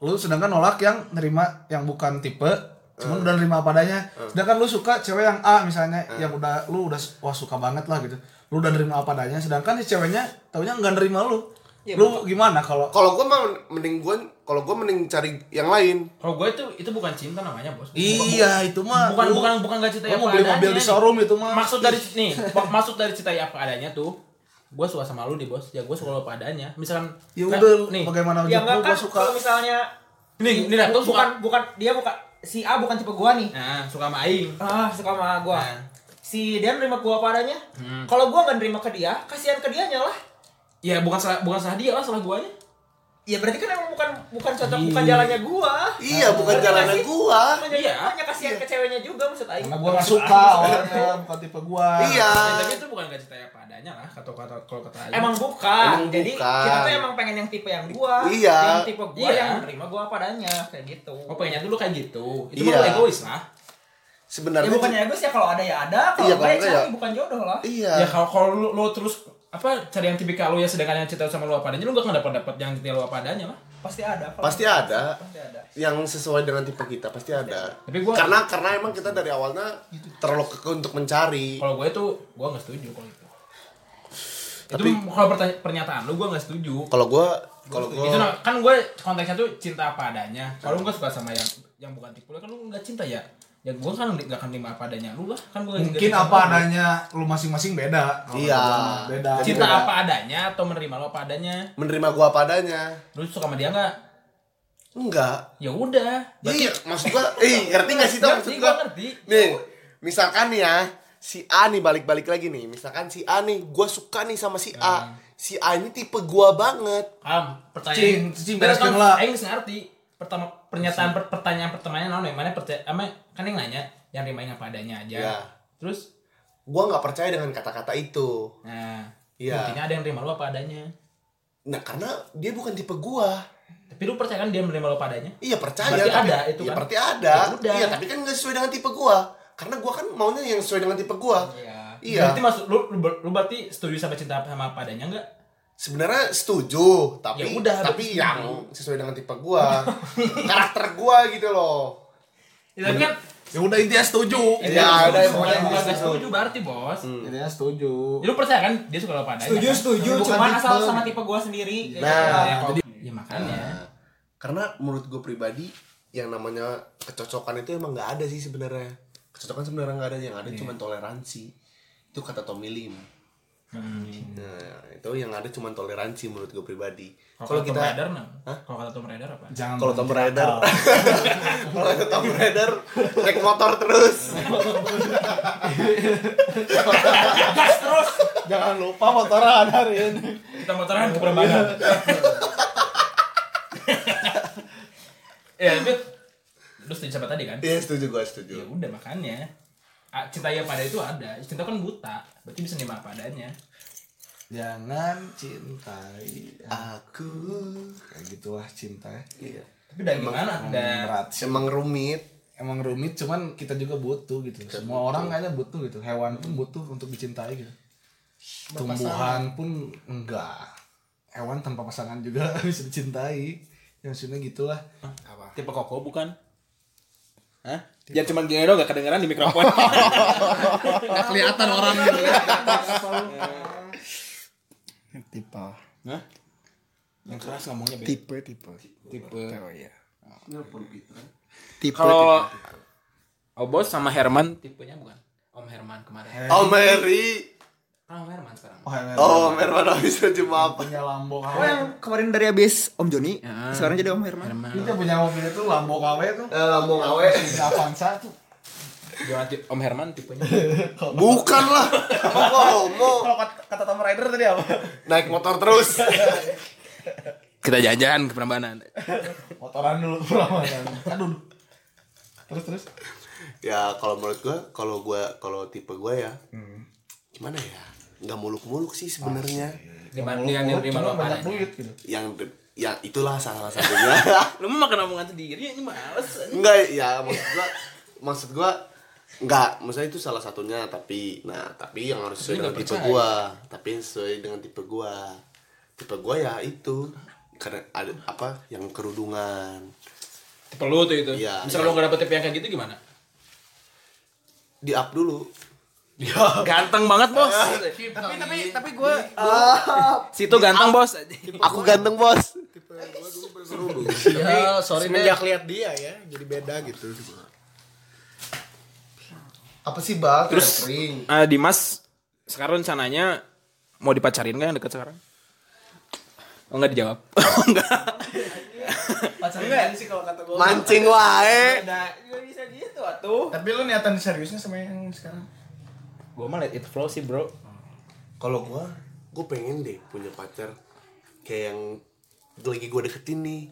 [SPEAKER 7] lu sedangkan nolak yang nerima yang bukan tipe, cuman
[SPEAKER 5] Eh.
[SPEAKER 7] udah nerima padanya. Sedangkan lu suka cewek yang A misalnya, yang udah lu udah wah suka banget lah gitu. Lu udah nerima apa adanya, sedangkan si ceweknya taunya nggak nerima lu.
[SPEAKER 8] Iya,
[SPEAKER 7] lu gimana kalau
[SPEAKER 5] kalau gue mah mending gue kalau gue mending cari yang lain.
[SPEAKER 3] kalau gue itu itu bukan cinta namanya bos
[SPEAKER 7] Iya, itu mah.
[SPEAKER 3] bukan
[SPEAKER 7] Lu-
[SPEAKER 3] bukan bukan nggak cinta
[SPEAKER 7] lu mau beli mobil di showroom itu mah.
[SPEAKER 3] maksud dari nih mak- maksud dari cinta apa adanya tuh gue suka sama lu nih bos ya gue suka lu apa adanya misalkan
[SPEAKER 7] Ya
[SPEAKER 3] nah,
[SPEAKER 7] udah
[SPEAKER 3] nih
[SPEAKER 7] bagaimana
[SPEAKER 8] Ya
[SPEAKER 7] juga
[SPEAKER 8] enggak
[SPEAKER 7] gua
[SPEAKER 8] kan
[SPEAKER 7] suka.
[SPEAKER 8] kalau misalnya
[SPEAKER 3] nih nih nah, tuh
[SPEAKER 8] bukan
[SPEAKER 3] suka
[SPEAKER 8] bukan dia bukan si A bukan tipe gua nih.
[SPEAKER 3] nah suka sama Aing
[SPEAKER 8] Ah, suka sama gua.
[SPEAKER 3] Nah.
[SPEAKER 8] Si dia nerima gua apa adanya. Kalau gua nggak nerima ke dia, kasihan ke dianya lah.
[SPEAKER 3] ya bukan salah bukan salah dia lah salah guanya
[SPEAKER 8] Ya berarti kan emang bukan bukan cocok bukan jalannya gua.
[SPEAKER 5] Iya bukan
[SPEAKER 8] Ngerti
[SPEAKER 5] jalanan
[SPEAKER 8] nggak sih?
[SPEAKER 5] gua.
[SPEAKER 8] Makanya
[SPEAKER 3] Iya.
[SPEAKER 8] makanya kasihan ke ceweknya juga maksud aing.
[SPEAKER 7] Karena gua nggak suka awalnya bukan tipe gua.
[SPEAKER 4] Nah,
[SPEAKER 5] Iya.
[SPEAKER 3] Ya,
[SPEAKER 7] Ah.
[SPEAKER 3] tapi itu bukan nggak cinta apa adanya lah kata kata kalau kata Aing
[SPEAKER 8] Emang bukan.
[SPEAKER 5] Emang
[SPEAKER 8] Jadi
[SPEAKER 5] bukan.
[SPEAKER 8] kita tuh emang pengen yang tipe yang gua,
[SPEAKER 5] Iya.
[SPEAKER 8] yang tipe gua
[SPEAKER 3] Iya.
[SPEAKER 8] yang nerima gua apa adanya kayak gitu.
[SPEAKER 3] Oh pengennya dulu kayak gitu Itu
[SPEAKER 5] Iya.
[SPEAKER 3] mah lu egois lah
[SPEAKER 8] Ya
[SPEAKER 5] Sebenarnya
[SPEAKER 8] bukannya egois ya kalau ada ya ada, kalau
[SPEAKER 5] Iya,
[SPEAKER 8] enggak ya
[SPEAKER 5] kalau enggak
[SPEAKER 8] cari
[SPEAKER 5] ya-
[SPEAKER 8] bukan jodoh lah.
[SPEAKER 5] iya.
[SPEAKER 3] Ya kalau kalau lu, lu terus apa cari yang tipikal lu ya sedangkan yang cinta sama lu apa adanya lu gak akan dapat dapat yang cinta lu apa adanya lah
[SPEAKER 8] Pasti ada. kalau-
[SPEAKER 5] Pasti ada.
[SPEAKER 8] Pasti ada.
[SPEAKER 5] yang sesuai dengan tipe kita pasti ada.
[SPEAKER 3] Tapi gua- Gitu.
[SPEAKER 5] karena karena emang kita dari awalnya terlalu keke untuk mencari.
[SPEAKER 3] Kalau gue tuh gue nggak setuju kalau itu. Tapi
[SPEAKER 5] Tapi-
[SPEAKER 3] itu kalau pertanya- pernyataan lu gue nggak setuju.
[SPEAKER 5] Kalau gue kalau gue
[SPEAKER 3] Itu nah, kan gue konteksnya tuh cinta apa adanya. Kalau gue suka sama yang yang bukan tipe lu kan lu nggak cinta ya. Ya gue kan nggak akan terima apa adanya lu lah. Kan gue
[SPEAKER 7] Mungkin apa adanya lu masing-masing beda. Kalau
[SPEAKER 5] Iya.
[SPEAKER 7] gua mah Beda.
[SPEAKER 3] Cinta
[SPEAKER 7] Beda.
[SPEAKER 3] apa adanya atau menerima lu apa adanya.
[SPEAKER 5] menerima gue padanya.
[SPEAKER 3] Lu suka sama dia nggak?
[SPEAKER 5] Enggak.
[SPEAKER 3] Ya udah.
[SPEAKER 5] Iya, maksud gue, eh, ngerti gak sih tau maksud
[SPEAKER 3] Ngerti,
[SPEAKER 5] gue?
[SPEAKER 3] gua ngerti.
[SPEAKER 5] Nih, misalkan nih ya, si A nih balik-balik lagi nih. Misalkan si A nih, gue suka nih sama si A. Si A ini tipe gue banget.
[SPEAKER 3] Am,
[SPEAKER 7] Cing,
[SPEAKER 3] pertanyaan.
[SPEAKER 7] cing,
[SPEAKER 3] Beres
[SPEAKER 7] beres
[SPEAKER 3] kan?
[SPEAKER 7] lah.
[SPEAKER 3] Aing geus ngerti. Pertama pernyataan per- pertanyaan pertamanya naon yang mana percaya ama kan yang nanya yang rimain apa adanya aja.
[SPEAKER 5] Iya.
[SPEAKER 3] Terus
[SPEAKER 5] Gue nggak percaya dengan kata-kata itu.
[SPEAKER 3] nah
[SPEAKER 5] Iya.
[SPEAKER 3] Intinya ada yang terima lu apa adanya.
[SPEAKER 5] Nah, karena dia bukan tipe gua.
[SPEAKER 3] Tapi lu percaya kan dia menerima lu apa adanya?
[SPEAKER 5] Iya percaya.
[SPEAKER 3] Berarti
[SPEAKER 5] tapi-
[SPEAKER 3] ada itu
[SPEAKER 5] Iya
[SPEAKER 3] kan?
[SPEAKER 5] berarti ada.
[SPEAKER 3] Ya udah.
[SPEAKER 5] Iya tapi kan nggak sesuai dengan tipe gua. Karena gua kan maunya yang sesuai dengan tipe gua. Iya.
[SPEAKER 3] Berarti maksud lu, lu, lu berarti setuju sama cinta sama apa adanya enggak?
[SPEAKER 5] Sebenarnya setuju, tapi
[SPEAKER 3] Ya udah,
[SPEAKER 5] tapi
[SPEAKER 3] harus.
[SPEAKER 5] yang sesuai dengan tipe gua. Karakter gua gitu loh.
[SPEAKER 3] Ya, tapi kan
[SPEAKER 4] Ya udah intinya setuju.
[SPEAKER 3] Iya,
[SPEAKER 5] Ya udah
[SPEAKER 3] bukan
[SPEAKER 5] pokoknya
[SPEAKER 3] bukan nggak setuju berarti bos.
[SPEAKER 2] Intinya setuju.
[SPEAKER 3] Ya, lu percaya kan dia suka lu apa adanya?
[SPEAKER 2] Setuju,
[SPEAKER 3] kan?
[SPEAKER 2] setuju,
[SPEAKER 3] Cuman
[SPEAKER 2] cuman
[SPEAKER 3] asal
[SPEAKER 2] tipe-
[SPEAKER 3] sama tipe gua sendiri.
[SPEAKER 5] Nah,
[SPEAKER 3] ya, jadi ya makanya.
[SPEAKER 5] karena menurut gue pribadi yang namanya kecocokan itu emang nggak ada sih sebenarnya kecocokan sebenarnya nggak ada yang
[SPEAKER 7] Iya.
[SPEAKER 5] ada cuma toleransi itu kata Tommy Lim nah, itu yang ada cuma toleransi menurut gue pribadi
[SPEAKER 7] Oh.
[SPEAKER 3] Kalau
[SPEAKER 5] kalau
[SPEAKER 3] kita Raider
[SPEAKER 5] kita
[SPEAKER 3] nah. Kalau kata Tomb Raider apa?
[SPEAKER 7] Jangan
[SPEAKER 5] kalau Tomb Raider kalau
[SPEAKER 3] iya.
[SPEAKER 5] kata Tomb Raider naik motor terus
[SPEAKER 2] Jangan lupa motoran hari ini.
[SPEAKER 3] Kita motoran ke perembangan. ya, tapi lu setuju sama tadi kan?
[SPEAKER 5] iya setuju gue setuju
[SPEAKER 3] Ya udah makanya. Ah, Cinta yang pada itu ada. Cinta kan buta. Berarti bisa nerima apa adanya.
[SPEAKER 7] Jangan cintai.
[SPEAKER 5] aku
[SPEAKER 7] Kayak gitulah cinta.
[SPEAKER 3] Tapi udah gimana? Udah
[SPEAKER 7] Berat sih.
[SPEAKER 5] emang rumit
[SPEAKER 7] Emang rumit cuman kita juga butuh gitu. Semua orang kayaknya butuh gitu. Hewan pun butuh untuk dicintai gitu. Tumbuhan pun enggak. Hewan tanpa pasangan juga bisa dicintai. Yang maksudnya gitulah.
[SPEAKER 3] tipe koko bukan? Hah? Jangan cuma gini doang gak kedengeran di mikrofon.
[SPEAKER 4] Nggak kelihatan orang.
[SPEAKER 2] Tipe.
[SPEAKER 3] Hah? Yang keras ngomongnya Be.
[SPEAKER 2] Tipe, tipe.
[SPEAKER 3] tipe.
[SPEAKER 2] Oh iya. Tipe.
[SPEAKER 3] Kalau Obos sama Herman tipenya bukan? Om Herman kemarin.
[SPEAKER 7] Iya.
[SPEAKER 5] oh Mary
[SPEAKER 3] Kan Om Herman sekarang.
[SPEAKER 5] oh Herman habis cuma apa
[SPEAKER 7] Punya
[SPEAKER 4] Iya,
[SPEAKER 7] Lambo KW.
[SPEAKER 6] Kemarin dari abis Om Joni,
[SPEAKER 3] Ya.
[SPEAKER 6] sekarang jadi Om Herman.
[SPEAKER 7] Kita punya mobil itu Lambo KW tuh.
[SPEAKER 5] Eh, lambung awe
[SPEAKER 7] Mobil Avanza tuh.
[SPEAKER 3] Jangan ti- Om Herman tipenya.
[SPEAKER 5] bukan lah emang gua homo
[SPEAKER 7] Kalau kata, kata Tom Rider tadi apa?
[SPEAKER 5] naik motor terus
[SPEAKER 3] Kita jajan ke Prambanan.
[SPEAKER 7] Motoran dulu peramanan. Aduh. Terus terus.
[SPEAKER 5] ya kalau menurut gua kalau gua kalau tipe gua ya
[SPEAKER 7] Hmm.
[SPEAKER 5] gimana ya nggak muluk-muluk sih
[SPEAKER 7] Ah,
[SPEAKER 5] sebenarnya
[SPEAKER 7] iya.
[SPEAKER 3] Di mana yang di mana
[SPEAKER 7] banyak duit gitu.
[SPEAKER 5] yang ya itulah salah satunya
[SPEAKER 3] Lu mau makan omongan sendiri ini males.
[SPEAKER 5] enggak ya maksud gua maksud gua enggak maksudnya itu salah satunya tapi nah tapi yang harus sesuai dengan tipe gua tapi yang sesuai dengan tipe gua tipe gua ya itu karena ada apa yang kerudungan
[SPEAKER 3] Tipe lu tuh itu.
[SPEAKER 5] Iya.
[SPEAKER 3] Misal lu gak dapet tipe yang kayak gitu gimana?
[SPEAKER 5] di up dulu
[SPEAKER 3] Ganteng banget, Bos.
[SPEAKER 2] Iya.
[SPEAKER 6] Tapi tapi tapi gue
[SPEAKER 2] Ah.
[SPEAKER 3] Situ ganteng, Bos.
[SPEAKER 5] aku ganteng bos
[SPEAKER 3] Iya,
[SPEAKER 4] Ya, sorry deh.
[SPEAKER 2] semenjak lihat dia ya, jadi beda gitu.
[SPEAKER 5] apa sih bal
[SPEAKER 3] Terus eh, Dimas sekarang rencananya mau dipacarin kan yang deket sekarang? Oh enggak dijawab. Oh, enggak.
[SPEAKER 7] Pacarnya sih kalau kata gue.
[SPEAKER 5] mancing wae
[SPEAKER 6] bisa gitu atuh.
[SPEAKER 2] Tapi lu niatan seriusnya sama yang sekarang?
[SPEAKER 3] Gua mah let it flow sih, Bro.
[SPEAKER 5] kalau gua gua pengen deh punya pacar kayak yang lagi gua deketin nih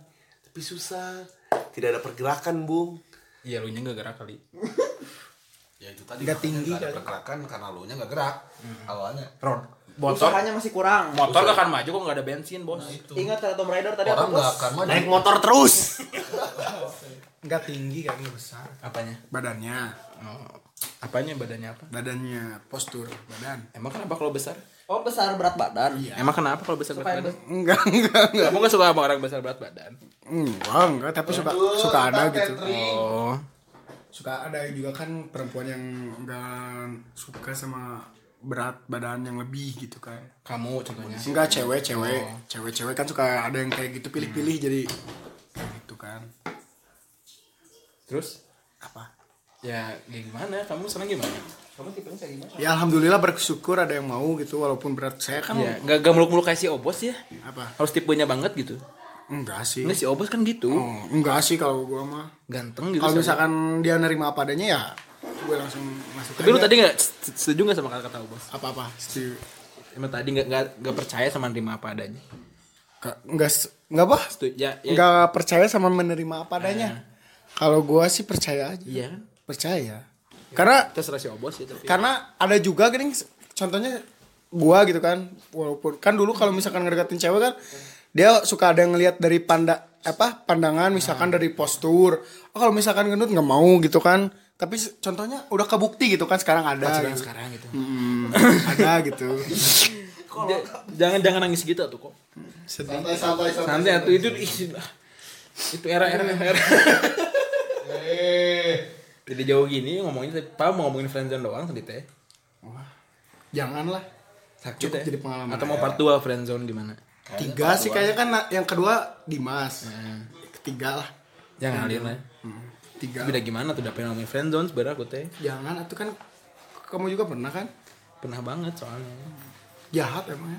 [SPEAKER 5] tapi susah tidak ada pergerakan bung
[SPEAKER 3] Iya, lu nya enggak gerak kali.
[SPEAKER 4] Ya itu tadi. Gak
[SPEAKER 2] tinggi
[SPEAKER 4] ada pergerakan karena lu nya gak gerak.
[SPEAKER 7] Hmm.
[SPEAKER 4] Awalnya. Ron.
[SPEAKER 3] Motor
[SPEAKER 6] Usahanya masih kurang.
[SPEAKER 3] motor gak akan maju kok enggak ada bensin, Bos.
[SPEAKER 6] Ingat kata Tom Rider tadi apa
[SPEAKER 4] Orang
[SPEAKER 6] bos?
[SPEAKER 4] gak akan maju.
[SPEAKER 5] naik motor terus
[SPEAKER 2] Enggak tinggi kan, enggak besar.
[SPEAKER 3] Apanya? Oh,
[SPEAKER 2] Badannya,
[SPEAKER 3] Apanya badannya apa?
[SPEAKER 2] badannya, postur badan. Iya.
[SPEAKER 3] Emang kenapa kalau besar?
[SPEAKER 6] Oh besar berat badan.
[SPEAKER 3] Emang kenapa kalau besar berat badan?
[SPEAKER 2] Enggak, enggak, enggak.
[SPEAKER 3] Kamu gak suka sama orang besar berat badan?
[SPEAKER 2] Enggak, enggak, tapi suka suka ada gitu.
[SPEAKER 3] Oh.
[SPEAKER 2] Suka ada juga kan perempuan yang enggak suka sama berat badan yang lebih gitu kan.
[SPEAKER 3] Kamu contohnya.
[SPEAKER 2] Enggak cewek, cewek. Cewek-cewek kan suka ada yang kayak gitu pilih-pilih jadi kayak gitu kan.
[SPEAKER 3] Terus
[SPEAKER 2] Apa?
[SPEAKER 3] ya kayak gimana? Kamu senang gimana?
[SPEAKER 2] Ya alhamdulillah bersyukur ada yang mau gitu walaupun berat saya kan
[SPEAKER 3] Ya, gak, gak muluk-muluk kayak si Obos ya.
[SPEAKER 2] apa?
[SPEAKER 3] Harus tipenya banget gitu.
[SPEAKER 2] Enggak sih.
[SPEAKER 3] Ini si Obos kan gitu.
[SPEAKER 2] Oh, enggak sih kalau gua mah.
[SPEAKER 3] Ganteng gitu.
[SPEAKER 2] Kalau
[SPEAKER 3] sama-
[SPEAKER 2] misalkan dia nerima apa adanya ya gue langsung masuk
[SPEAKER 3] Tapi lu tadi gak se- setuju gak sama kata-kata Obos?
[SPEAKER 2] apa-apa setuju.
[SPEAKER 3] Emang tadi gak, gak, gak percaya sama nerima apa adanya?
[SPEAKER 2] Ka- Enggak se- enggak apa?
[SPEAKER 3] Setuju, ya, ya,
[SPEAKER 2] Enggak percaya sama menerima apa adanya. Kalau gua sih percaya aja.
[SPEAKER 3] Iya kan?
[SPEAKER 2] Percaya. Karena Iya.
[SPEAKER 3] Terserah si Obos ya tapi.
[SPEAKER 2] karena ada juga gini contohnya gua gitu kan walaupun kan dulu kalau misalkan ngedeketin cewek kan dia suka ada ngelihat dari panda apa pandangan misalkan dari postur oh kalau misalkan gendut nggak mau gitu kan tapi se- contohnya udah kebukti gitu kan sekarang ada gitu. sekarang gitu ada gitu
[SPEAKER 3] jangan jangan nangis gitu tuh kok
[SPEAKER 1] santai santai santai
[SPEAKER 3] santai atuh itu ih, itu era era era jadi jauh gini ngomongin tapi Pak mau ngomongin friendzone doang tadi teh
[SPEAKER 2] janganlah
[SPEAKER 3] sakit
[SPEAKER 2] Cukup
[SPEAKER 3] ya.
[SPEAKER 2] jadi pengalaman.
[SPEAKER 3] atau mau part 2 friendzone gimana
[SPEAKER 2] tiga sih kayaknya kan na- yang kedua Dimas ketiga lah
[SPEAKER 3] jangan ngalir lah
[SPEAKER 2] tiga
[SPEAKER 3] beda gimana tuh dapet ngomongin friendzone sebenernya aku teh
[SPEAKER 2] jangan itu kan kamu juga pernah kan
[SPEAKER 3] pernah banget soalnya
[SPEAKER 2] jahat emangnya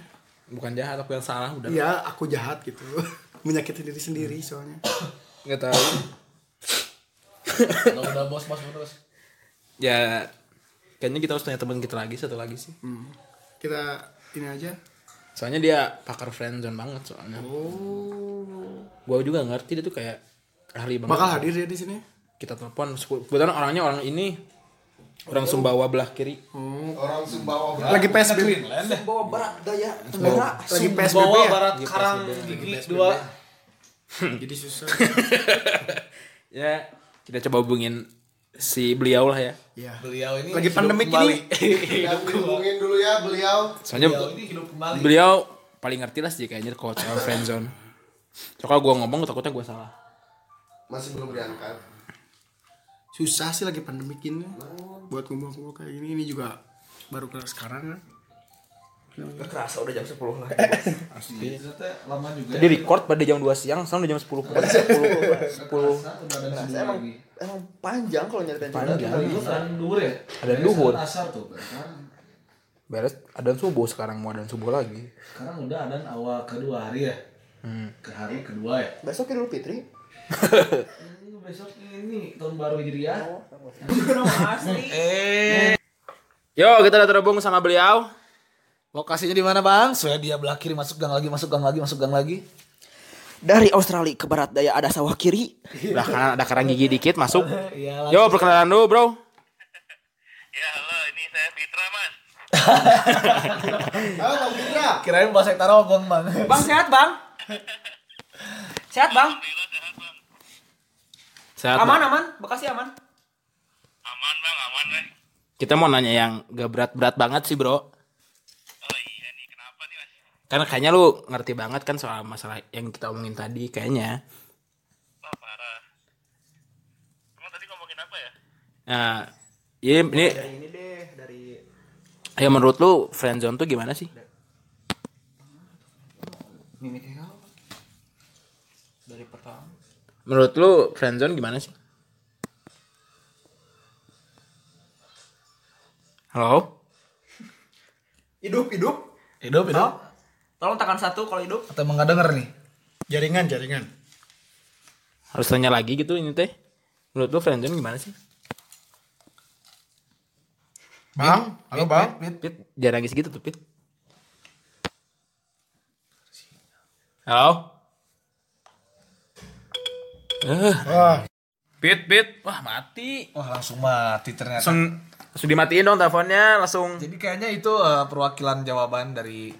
[SPEAKER 3] bukan jahat aku yang salah udah
[SPEAKER 2] iya aku jahat gitu menyakiti diri sendiri soalnya
[SPEAKER 3] nggak tahu
[SPEAKER 4] Kalau udah bos bos terus.
[SPEAKER 3] ya kayaknya kita harus tanya teman kita lagi satu lagi sih
[SPEAKER 2] kita ini aja
[SPEAKER 3] soalnya dia pakar friendzone banget soalnya gua juga ngerti dia tuh kayak ahli banget
[SPEAKER 2] bakal hadir ya di sini
[SPEAKER 3] kita telepon sepu- kebetulan orangnya orang ini orang Sumbawa belah kiri
[SPEAKER 1] orang
[SPEAKER 4] Oh,
[SPEAKER 1] Sumbawa
[SPEAKER 2] lagi PSBB
[SPEAKER 7] Bawa barat daya.
[SPEAKER 2] lagi PSBB
[SPEAKER 4] Iya,
[SPEAKER 7] Bawa
[SPEAKER 2] ya
[SPEAKER 7] barat karang gigi dua.
[SPEAKER 2] jadi susah
[SPEAKER 3] ya kita coba hubungin si beliau lah ya
[SPEAKER 2] ya
[SPEAKER 4] Beliau ini
[SPEAKER 2] lagi
[SPEAKER 4] hidup
[SPEAKER 2] pandemi
[SPEAKER 4] kembali.
[SPEAKER 2] ini
[SPEAKER 1] ya hubungin dulu ya beliau
[SPEAKER 3] soalnya
[SPEAKER 4] Beliau ini hidup kembali.
[SPEAKER 3] beliau paling ngerti lah sih kayaknya kalau soal friendzone soalnya gua ngomong takutnya gua salah
[SPEAKER 1] masih belum diangkat
[SPEAKER 2] susah sih lagi pandemi ini buat ngumpul-ngumpul kayak gini ini juga baru kelar sekarang kan
[SPEAKER 5] kerasa udah jam 10 lah
[SPEAKER 4] Lama juga. ya.
[SPEAKER 3] tadi record pada jam 2 siang sekarang udah jam 10
[SPEAKER 5] emang emang panjang kalau nyeritain panjang
[SPEAKER 4] Duhur ya.
[SPEAKER 3] ada duhur
[SPEAKER 4] Asar tuh.
[SPEAKER 3] beres ada subuh sekarang mau ada subuh lagi
[SPEAKER 4] Sekarang udah ada awal kedua hari ya. Ke hari kedua ya.
[SPEAKER 5] besok Idul Fitri
[SPEAKER 4] Besok ini tahun baru Hijriah.
[SPEAKER 5] Oh.
[SPEAKER 3] yo kita udah terhubung sama beliau
[SPEAKER 4] Lokasinya di mana bang? Swedia ya, belah kiri masuk gang lagi, masuk gang lagi, masuk gang lagi.
[SPEAKER 6] Dari Australia ke barat daya ada sawah kiri.
[SPEAKER 3] udah kanan ada karang gigi dikit masuk
[SPEAKER 4] Iya
[SPEAKER 3] yo perkenalan dulu bro
[SPEAKER 9] Ya halo, ini saya Fitra mas.
[SPEAKER 4] Kirain bahasa Tarogong bang.
[SPEAKER 6] Bang sehat bang? Sehat bang?
[SPEAKER 9] Alhamdulillah sehat bang.
[SPEAKER 3] Sehat,
[SPEAKER 6] Aman
[SPEAKER 3] Bang.
[SPEAKER 6] aman? Bekasi aman?
[SPEAKER 9] Aman bang, aman nih.
[SPEAKER 3] kita mau nanya yang gak berat-berat banget sih bro
[SPEAKER 9] Oh iya nih, kenapa nih mas?
[SPEAKER 3] Karena kayaknya lu ngerti banget kan soal masalah yang kita omongin tadi kayaknya.
[SPEAKER 9] Wah parah. Emang tadi ngomongin apa ya?
[SPEAKER 3] Nah, ya, ini ini deh dari Ya menurut lu friendzone tuh gimana sih? Menurut lu friendzone gimana sih? Halo?
[SPEAKER 2] hidup hidup
[SPEAKER 4] Hidup hidup.
[SPEAKER 6] Tolong tekan satu kalau hidup.
[SPEAKER 4] Atau emang nggak denger nih?
[SPEAKER 2] jaringan jaringan
[SPEAKER 3] Harus tanya lagi gitu ini teh. Menurut lu friendzone gimana sih?
[SPEAKER 2] bang halo bang
[SPEAKER 3] Pit, jangan nangis gitu tuh, Pit. Halo? Eh. Pit, Pit. Wah, mati.
[SPEAKER 4] Wah langsung mati ternyata.
[SPEAKER 3] Langsung, langsung dimatiin dong teleponnya, langsung.
[SPEAKER 4] Jadi kayaknya itu eh, perwakilan jawaban dari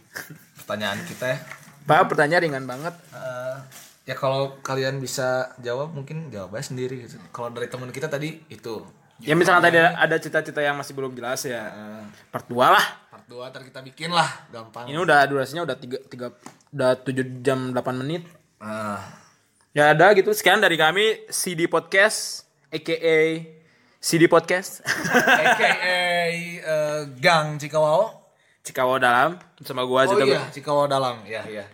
[SPEAKER 4] pertanyaan kita ya.
[SPEAKER 3] Pak, pertanyaan ringan banget.
[SPEAKER 4] Eh, ya kalau kalian bisa jawab mungkin jawabnya sendiri gitu. Kalau dari teman kita tadi itu
[SPEAKER 3] Ya misalnya tadi ada, ada cita-cita yang masih belum jelas ya. Part 2 lah.
[SPEAKER 4] Eh, part 2 ntar kita bikin lah gampang.
[SPEAKER 3] Ini udah durasinya udah 3 3 udah 7 jam 8 menit.
[SPEAKER 4] Nah,
[SPEAKER 3] Ya ada gitu. Sekian dari kami CD Podcast aka CD Podcast.
[SPEAKER 4] aka eh, Gang Cikawao.
[SPEAKER 3] Cikawao dalam sama gua
[SPEAKER 4] Oh
[SPEAKER 3] Zito
[SPEAKER 4] iya, Cikawao dalam. Ya, iya.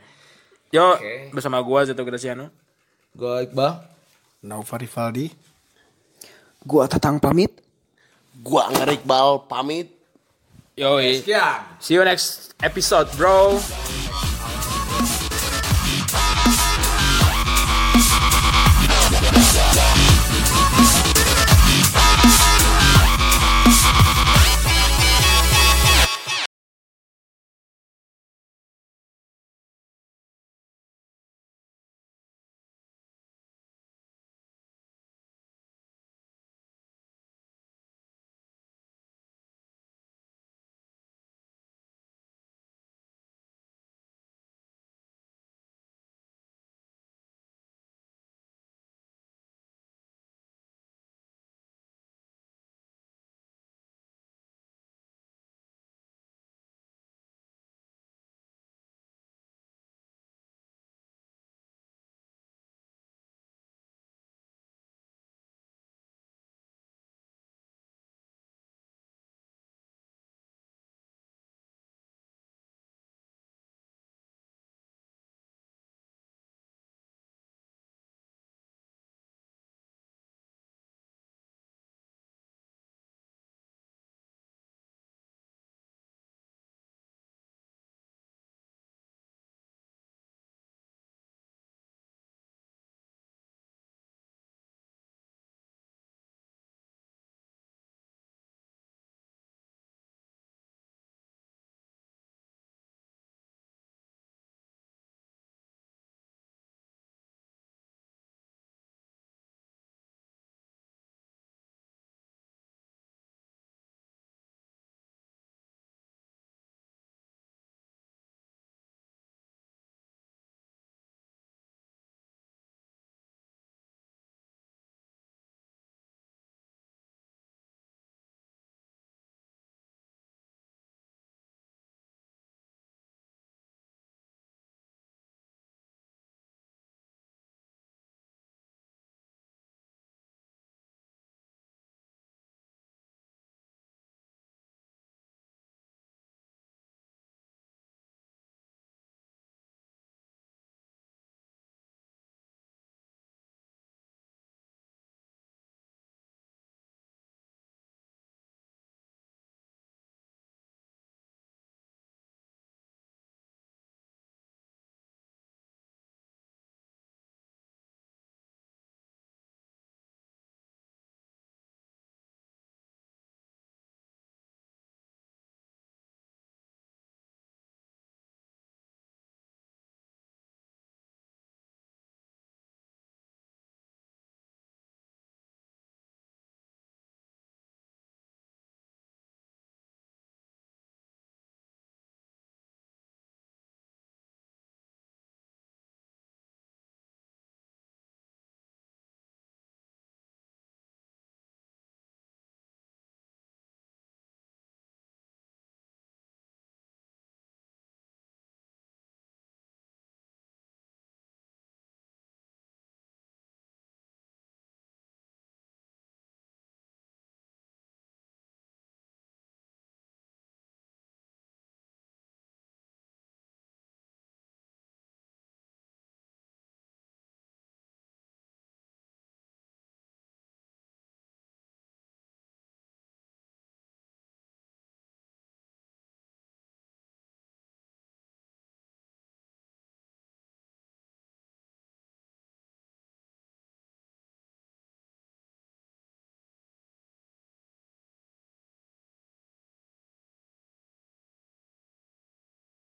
[SPEAKER 3] Yo,
[SPEAKER 4] Oke.
[SPEAKER 3] bersama gua Zito Graciano.
[SPEAKER 4] Gua Iqbal.
[SPEAKER 2] Nova Rivaldi
[SPEAKER 6] Gua tatang pamit.
[SPEAKER 5] gua ngerik bal pamit
[SPEAKER 3] Yo,
[SPEAKER 4] Sekian.
[SPEAKER 3] see you next episode, bro.